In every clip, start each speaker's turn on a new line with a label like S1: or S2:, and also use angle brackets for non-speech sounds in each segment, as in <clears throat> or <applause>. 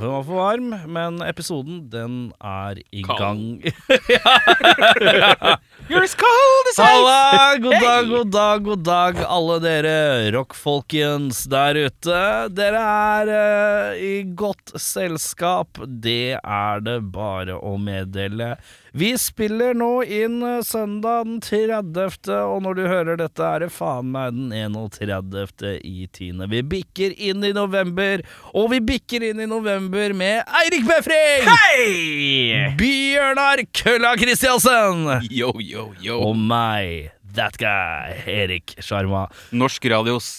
S1: varm, men episoden den er i
S2: Kald.
S1: gang.
S2: You're as cold as
S1: Halla! God dag, god dag, god dag, alle dere rockfolkens der ute. Dere er eh, i godt selskap. Det er det bare å meddele. Vi spiller nå inn eh, søndag den 30., og når du hører dette, er det faen meg den 31. i tiende. Vi bikker inn i november, og vi bikker inn i november med Eirik Befring!
S2: Hei!
S1: Bjørnar Kølla Kristiansen!
S2: Yo, yo, yo.
S1: og meg, that guy, Erik Sjarma.
S2: Norsk radios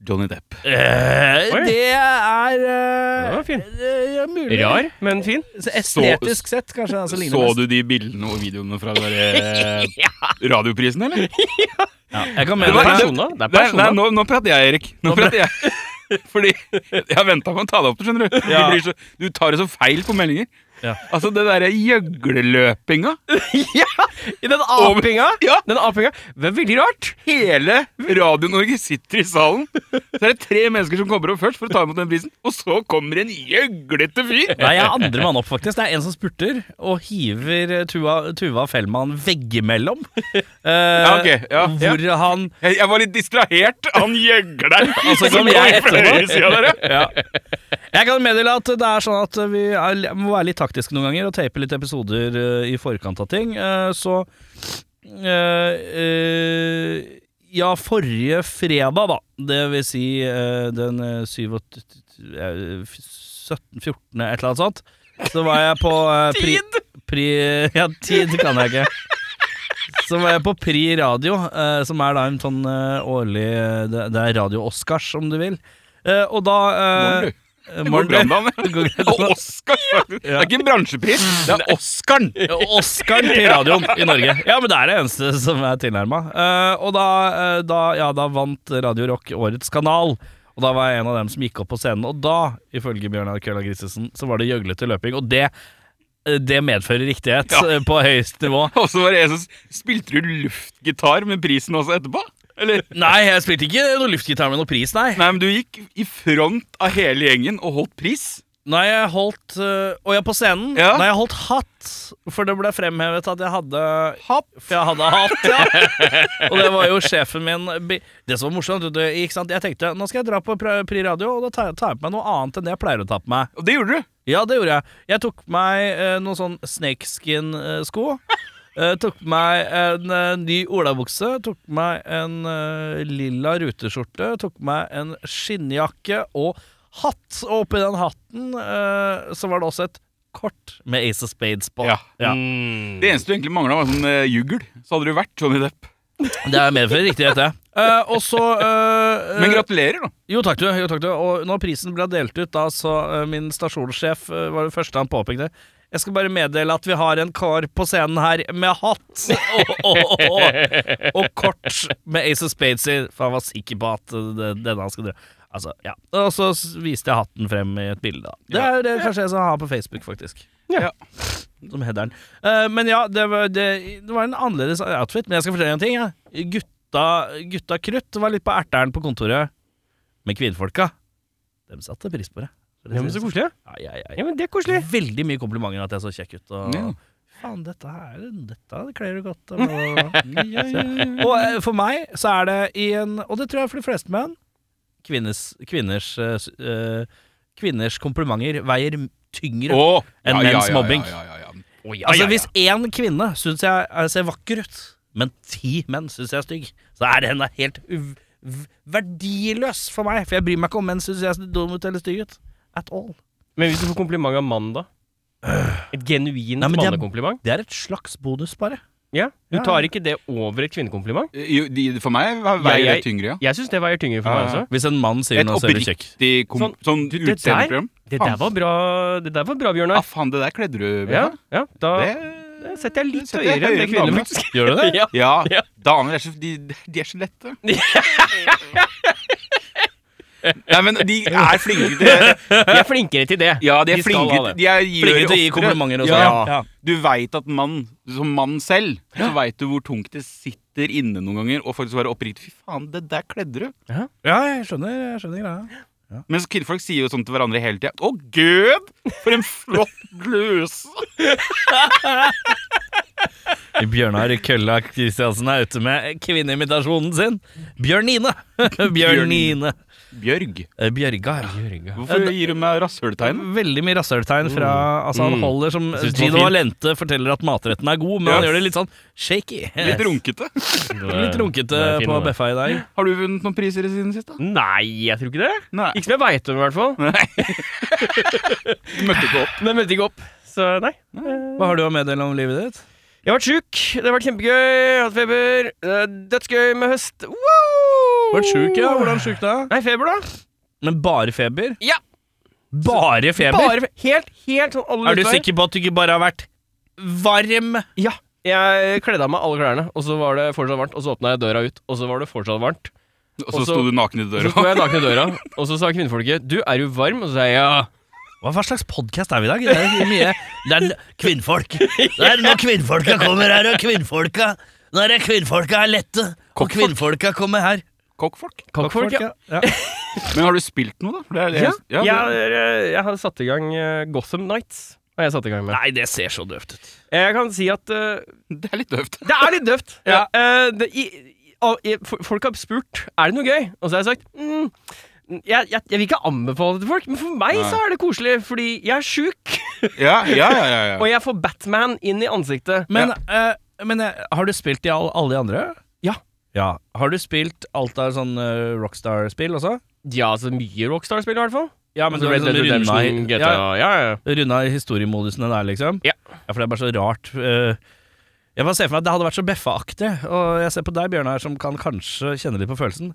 S2: Johnny Depp.
S1: Eh,
S3: Oi.
S1: det er eh,
S3: Den var fin.
S1: eh, ja, mulig.
S3: Rar, men fin.
S1: Så Estetisk sett, kanskje. Den som ligner
S2: Så
S1: mest.
S2: du de bildene og videoene fra der, eh, radioprisen, eller?
S1: Ja, jeg
S3: Det
S1: kan mene
S3: er
S1: det.
S3: persona. Det er
S2: Nei, nei
S3: persona.
S2: nå, nå prater jeg, Erik. Nå prater jeg. <laughs> Fordi jeg har venta med å ta det opp, skjønner du.
S1: Ja.
S2: Du, blir så, du tar det så feil på meldinger.
S1: Ja.
S2: Altså, det derre gjøgleløpinga.
S3: Ja, I den apinga.
S2: Ja.
S3: Den apinga. Det er veldig rart.
S2: Hele Radio-Norge sitter i salen. Så er det tre mennesker som kommer opp først for å ta imot den prisen, og så kommer en gjøglete fyr.
S1: Nei, jeg er andre mann opp, faktisk. Det er en som spurter og hiver eh, Tuva, Tuva Fellmann
S3: <laughs>
S1: veggimellom. Eh,
S2: ok, ja, ja.
S1: hvor han
S2: Jeg, jeg var litt distrahert. Han gjøgler.
S1: <laughs> Altså,
S2: som
S1: kom jeg
S2: går fra
S1: etterpå.
S2: høyresida der, ja.
S1: Jeg kan meddele at det er sånn at vi er, må være litt taktiske noen ganger og tape litt episoder eh, i forkant av ting. Eh, så eh, eh, Ja, forrige fredag, da. Det vil si eh, den eh, 7 og t- t- eh, f- 17, 14, et eller annet sånt. Så var jeg på eh, pri, pri <laughs> Ja, tid kan jeg ikke. Så var jeg på Pri Radio, eh, som er da en sånn eh, årlig eh, Det, det er Radio Oscars, om du vil. Eh, og da eh,
S2: Morgen,
S1: Eh,
S2: Det går bra
S1: <laughs> Morten,
S2: med han,
S1: det går
S2: ja.
S1: greit.
S2: <laughs> Og Oscar.
S1: <laughs>
S2: faktisk. Det er ikke en bransjepris, det er <laughs> Oscaren.
S1: Oscaren til radioen i Norge. Ja, men det er det eneste som er tilnærma. og da, eh, da, ja, da vant Radio Rock Årets kanal. Og da var jeg en av dem som gikk opp på scenen. Og da, ifølge Bjørnar Kølla Grisesen, så var det gjøglete løping. Og det, eh, det medfører riktighet
S2: Ja.
S1: eh, på høyest nivå.
S2: Og så var det en som spilte du luftgitar med prisen også etterpå? Eller?
S1: Nei, jeg spilte ikke noe luftgitar med noe pris, nei.
S2: Nei, men du gikk i front av hele gjengen og holdt pris.
S1: Nei, jeg holdt øh, Og jeg på scenen.
S2: Ja.
S1: Nei, jeg holdt hatt, for det ble fremhevet at jeg hadde Hatt? For jeg hadde hatt, ja. og det var jo sjefen min bi- Det som var morsomt, vet du, ikke sant? jeg tenkte nå skal jeg dra på Pri Pri Radio, og da tar jeg, tar jeg på meg noe annet enn det jeg pleier å ta på meg.
S2: Og det gjorde du.
S1: Ja, det gjorde jeg. Jeg tok meg eh, noen sånn snakeskin-sko. Eh, tok meg en eh, ny olabukse, tok meg en eh, lilla ruteskjorte, tok meg en skinnjakke og hatt. Og oppi den hatten eh, så var det også et kort med Ace of Spades på.
S2: Ja.
S3: Mm.
S2: Det eneste du egentlig mangla, var sånn eh, jugl. Så hadde du vært Johnny Depp.
S1: Det er medfører riktighet, det. Eh, og så eh,
S2: Men gratulerer, da.
S1: Jo takk, du. jo takk du Og når prisen ble delt ut, da så eh, min stasjonssjef eh, var det første han påpekte. Jeg skal bare meddele at vi har en kar på scenen her med hatt <laughs> og, og, og, og, og kort med Ace of Spades i, for han var sikker på at eh, det, denne han skulle dra. Altså, ja. Og så s- viste jeg hatten frem i et bilde. da. Det er det kanskje jeg som har på Facebook, faktisk.
S3: Ja.
S1: Som headeren. Eh, men ja, det var, det, det var en annerledes outfit. Men jeg skal fortelle en ting. Ja. Gutta, gutta krutt var litt på erteren på kontoret. Men kvinnfolka, dem satte pris på det.
S3: Ja, men så koselig.
S1: Ja, ja, ja,
S3: Ja,
S1: ja.
S3: men det er koselig.
S1: Veldig mye komplimenter at jeg så kjekk ut. Og
S2: Ja.
S1: faen, dette her Dette kler du
S3: <laughs>
S1: godt. Og, ja, ja, ja. og eh, for meg så er det i en Og det tror jeg for de fleste menn Kvinners, kvinners, eh, s- eh, kvinners komplimenter veier tyngre.
S2: Å,
S1: En
S2: ja, ja,
S1: menns
S2: ja,
S1: mobbing.
S2: Ja, ja, ja, ja.
S1: altså Hvis én kvinne syns jeg eh, ser vakker ut, men ti menn syns jeg er stygg, så er den da helt uv- v- verdiløs for meg. For jeg bryr meg ikke om menn syns jeg ser dum ut eller stygg ut. At all.
S3: Men hvis du får kompliment av mannen, da? Et genuint
S1: Nei, men det er-
S3: mannekompliment?
S1: Det er et slags bonus, bare.
S3: Ja. Du
S1: Ja,
S3: tar
S1: ja.
S3: ikke det over et kvinnekompliment?
S2: Eh, Jo, de- For meg veier det
S3: Jeg- jeg-
S2: tyngre, ja.
S3: Jeg syns det veier tyngre for
S2: Ja,
S3: meg
S2: ja.
S3: også.
S1: Hvis en mann sier
S2: Et
S1: noe, så er du kjekk.
S2: oppriktig kom-
S3: Sånn,
S2: sånn
S3: du, det der-
S2: utseendeprogram.
S3: Det der var bra, det der var bra
S2: Ja,
S3: Bjørnar.
S2: Ah, faen, det der kledde du
S3: Ja,
S2: Bjørnar.
S3: ja, da
S2: Det-
S3: Ah, det setter jeg litt
S2: setter
S3: høyere
S2: jeg
S3: enn det
S2: høyere enn
S3: kvinner
S2: damer.
S3: faktisk.
S1: <laughs> Gjør du
S3: Ja.
S2: Ja,
S3: Ja.
S2: damer er så, de, de er så
S1: <laughs>
S2: lette. Nei, men de er flinke til
S3: De er flinkere til det.
S2: Ja, de er
S3: skal
S2: flinke,
S3: ha det.
S2: de er, gjør
S1: Flinke til å gi
S2: oftere.
S1: komplimenter og sånn.
S2: Ja.
S1: Ja.
S2: Du veit at mann, som mann selv, så veit du hvor tungt det sitter inne noen ganger, og faktisk være oppriktig Fy faen, det der kledde du.
S1: Ja, jeg skjønner, jeg skjønner greia. Ja.
S2: Mens kvinnfolk sier jo sånn til hverandre hele tida. Å, gud! For en flott
S1: <laughs>
S2: bluse!
S1: Bjørnar Kølla Kristiansen er ute med kvinneimitasjonen sin. Bjørnine! <laughs> Bjørnine.
S2: Bjørg.
S1: Eh, Bjørga, ja.
S3: Jørgen.
S2: Hvorfor gir hun meg rasshøltegn?
S1: Veldig mye rasshøltegn fra Altså, han
S3: Mm.
S1: holder som
S3: Jeg synes det var
S1: Gino
S3: fint.
S1: Valente forteller at matretten er god, men han
S2: Ja.
S1: gjør det litt sånn shaky.
S2: Litt
S1: <laughs>
S2: runkete.
S1: Litt runkete
S3: Det er fin,
S1: på
S3: det.
S1: Beffa i dag.
S2: Har du vunnet noen priser i siden sist, da?
S3: Nei, jeg tror ikke det.
S2: Nei.
S3: Ikke som jeg veit om, i hvert fall.
S2: Nei. Du møtte ikke opp.
S3: Men møtte ikke opp. Så nei.
S1: Hva har du å meddele om livet ditt?
S3: Jeg har vært sjuk. Det har vært kjempegøy. Jeg har Hatt feber. Eh, Dødsgøy med høst. Wow!
S1: Vært sjuk, ja. Hvordan sjuk da?
S3: Nei, feber, da?
S1: Men bare feber?
S3: Ja.
S1: Bare feber?
S3: Bare fe- helt, helt sånn alle
S1: Er du
S3: utveier.
S1: sikker på at du ikke bare har vært varm?
S3: Ja. Jeg kledde av meg alle klærne, og så var det fortsatt varmt. Og så åpna jeg døra ut, og så var det fortsatt varmt.
S2: Og så
S3: Også-
S2: sto du naken i
S3: Og så sto
S2: døra.
S3: jeg naken i døra, og så sa kvinnfolket 'du, er du varm?' Og så sa jeg ja.
S1: Hva for slags podkast er vi i dag? Det er jo mye Det er kvinnfolk. Det er når kvinnfolka kommer her, og kvinnfolka Når er kvinnfolka er lette, og kvinnfolka kommer her.
S2: Kokkfolk.
S3: Kokkfolk, ja.
S2: Men har du spilt noe, da? For det er det
S3: ja.
S2: eneste-
S3: Jeg,
S2: ja, det-
S3: jeg, jeg har satt i gang eh, Gotham Nights. Har jeg satt i gang med.
S1: Nei, det ser så døvt ut.
S3: Jeg kan si at eh,
S2: det er litt døvt.
S3: Det er litt døvt.
S1: <laughs> Ja.
S3: Eh, det, i, i, av- i, for- folk har spurt Er det noe gøy, og så har jeg sagt mm, jeg, jeg, jeg vil ikke anbefale det til folk, men for meg
S2: Nei.
S3: så er det koselig, fordi jeg er sjuk,
S2: Ja, ja, ja. ja, ja.
S1: <laughs>
S3: og jeg får Batman inn i ansiktet.
S1: Men, eh, men eh, har du spilt i all, alle de andre?
S3: Ja.
S1: Ja. Har du spilt alt av sånn eh, Rockstar-spill også?
S3: Ja, så mye Rockstar-spill, i hvert fall.
S1: Ja,
S3: Altså, Red Dead Redemption, GTA
S1: sånn ja,
S3: Ja, ja, ja.
S1: Runda historiemodusene der, liksom?
S3: Ja.
S1: For det er bare så rart. eh, Jeg bare ser for meg at det hadde vært så Beffa-aktig, og jeg ser på deg, Bjørnar, som kan kanskje kjenne litt på følelsen.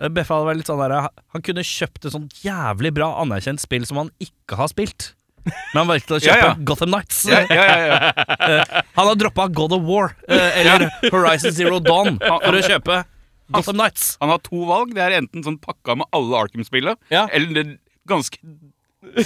S1: Eh, Beffa hadde vært litt sånn der Han kunne kjøpt et sånt jævlig bra anerkjent spill som han ikke har spilt. Men han valgte å kjøpe
S2: Ja, ja.
S1: Gotham Nights.
S2: ja, ja, ja, ja.
S1: Han har droppa God of War eh, eller Horizon Zero Dawn for å kjøpe Gotham Nights.
S2: Han har to valg. Det er enten sånn pakka med alle Arkham-spillene,
S1: Ja.
S2: eller det ganske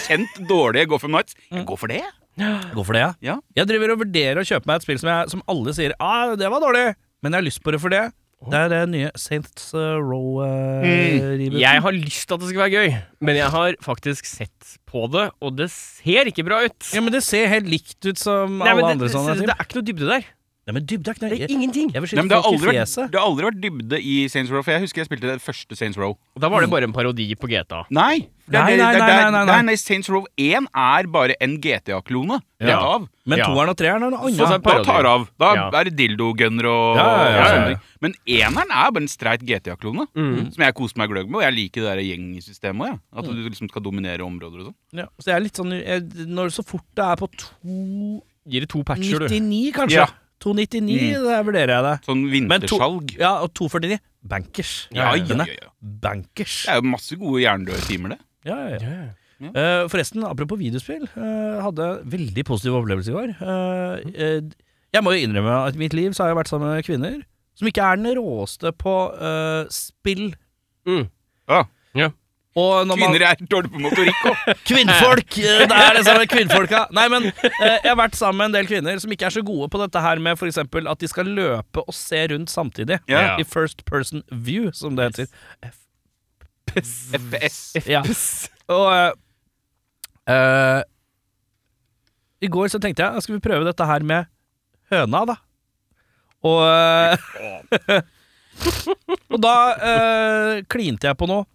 S2: kjent dårlige Gotham Nights. Jeg går for det. jeg.
S1: Gå for det, ja.
S2: Ja.
S1: Jeg driver og vurderer å kjøpe meg et spill som, jeg, som alle sier ah, det var dårlig, men jeg har lyst på det for det. Det er det nye Saints uh, Row uh,
S3: Jeg har lyst til at det skal være gøy, men jeg har faktisk sett på det, og det ser ikke bra ut.
S1: Ja, men det ser helt likt ut som
S3: Nei,
S1: alle
S3: men
S1: andre
S3: det,
S1: sånne
S3: det,
S1: ting.
S3: det er ikke noe dybde der.
S1: Nei, men dybde er ikke noe-
S3: Det er
S1: jeg-
S3: ingenting.
S1: Jeg vil
S2: Nei,
S1: skyte
S2: men det, har
S1: folk i
S2: aldri vært,
S1: fjeset.
S2: det har aldri vært dybde i Saints Row, for jeg husker jeg spilte det første Saints Row.
S3: Da var det bare en parodi på GTA.
S2: Nei! Det er
S1: Nei, nei,
S2: det- det er
S1: nei,
S2: der-
S1: nei, nei, nei.
S2: nei, Saints Row 1 er bare en GTA-klone.
S1: Ja.
S2: Rett av.
S1: Men
S3: Ja.
S1: toeren og treeren er noe
S2: Så
S3: så er
S1: annet.
S3: det
S2: da tar det av. Da
S3: Ja.
S2: er det dildogunner og,
S1: Ja, ja, ja,
S2: og
S1: ja,
S2: sånne
S1: ja.
S2: ting. Men eneren er bare en streit GTA-klone.
S3: Mm.
S2: Som jeg koser meg gløgg med, og jeg liker det der gjengsystemet òg. At du liksom skal dominere områder og sånn.
S1: Ja. Så jeg er litt sånn jeg, når, Så fort det er på 299,
S3: Gir det to patcher, du.
S1: kanskje.
S2: Ja.
S1: 299, der vurderer jeg det.
S2: Sånn
S1: Men to-
S2: vintersalg.
S1: Ja, og 249. Bankers.
S2: Ja, ja,
S1: Den
S2: ja,
S1: er
S2: ja.
S1: Bankers.
S2: Det er jo masse gode jerndøde timer, det.
S1: Ja, ja, ja.
S2: Ja.
S1: Eh, forresten, apropos videospill. eh, hadde veldig positiv opplevelse i går. Eh, eh, jeg må jo innrømme at i mitt liv så har jeg vært sammen med kvinner som ikke er den råeste på eh, spill.
S3: Mm.
S2: Ja.
S1: Og når man,
S2: Kvinner er dårlige på motorikk òg.
S1: <laughs> kvinnfolk! eh, det er det
S2: <laughs>
S1: samme kvinnfolka. Nei, men eh, jeg har vært sammen med en del kvinner som ikke er så gode på dette her med f.eks. at de skal løpe og se rundt samtidig.
S2: Ja.
S1: I first person view, som det heter.
S2: FPS.
S1: Ja. Og eh, eh, I går så tenkte jeg Skal vi prøve dette her med høna da Og eh, <laughs> Og da eh, klinte jeg på noe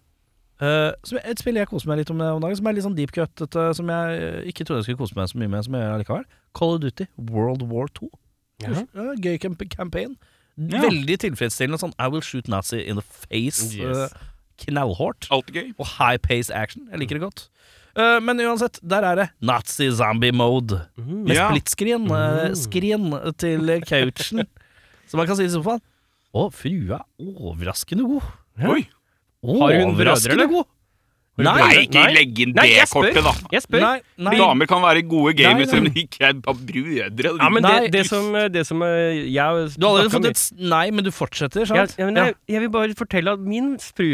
S1: eh, som, Et spill jeg koser meg litt om om dagen Som er litt sånn deep cut dette, Som jeg eh, ikke trodde jeg skulle kose meg så mye med Som jeg gjør allikevel Call of Duty World War 2
S3: Ja.
S1: Gøy camp campaign
S2: Ja.
S1: Veldig tilfredsstillende sånn I will shoot Nazi in the face
S3: Yes.
S1: eh, Knallhårt
S2: Alt gøy.
S1: og high pace action. Jeg liker det godt. Eh, men uansett, der er det nazi-zombie-mode.
S3: Mhm.
S1: Med
S2: Ja.
S1: splittscreen eh, screen til couchen.
S3: <laughs>
S1: Så man kan si i sofaen Å, frua er overraskende god.
S2: Oi.
S3: Har hun brødre, eller?
S1: god.
S3: hun
S1: Nei,
S2: Nei,
S3: brødre?
S2: ikke
S3: Nei.
S2: legg inn
S3: Nei,
S2: det
S3: jeg spør.
S2: kortet, da.
S3: Jeg spør.
S1: nei, nei.
S2: Damer kan være gode gamers,
S1: Nei, nei.
S2: men ikke er bare brødre.
S3: Ja, men
S1: Nei.
S3: det, det som, det som eh, jeg
S1: Du har allerede fått et s- nei, men du fortsetter,
S3: jeg,
S1: sant?
S3: ja, men jeg, jeg vil bare fortelle at min fru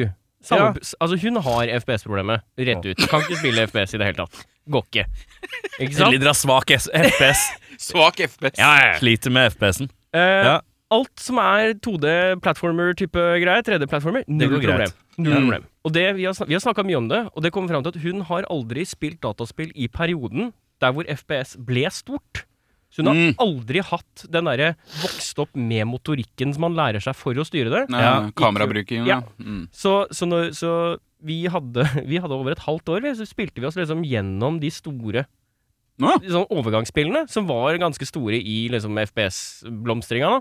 S3: samme, Altså, hun har FPS-problemet. Rett ut. Kan ikke spille FPS i det hele tatt. Går
S1: <laughs>
S3: ikke. Ikke
S1: Ja.
S3: sant?
S1: <laughs> Lider av svak S- FPS.
S2: Svak FPS.
S1: Sliter med FPS-en.
S3: Eh,
S1: Ja.
S3: alt som er 2D-platformer-type greier, 3D-platformer, null
S1: går greit.
S3: problem. Null
S2: Ja.
S3: problem. Og det, vi har, snak- vi har snakka mye om det, og det kommer fram til at hun har aldri spilt dataspill i perioden der hvor FPS ble stort. Så hun har
S2: Mm.
S3: aldri hatt den derre vokst opp med motorikken som man lærer seg for å styre det.
S2: Nei,
S1: Ja.
S2: Kamerabruking.
S3: Ja.
S2: Ja. Mm.
S3: Så, så, når, så vi, hadde, <laughs> vi hadde over et halvt år, vi, så spilte vi oss liksom gjennom de store
S2: Nå?
S3: sånn overgangsspillene, som var ganske store i liksom, FPS-blomstringa. da.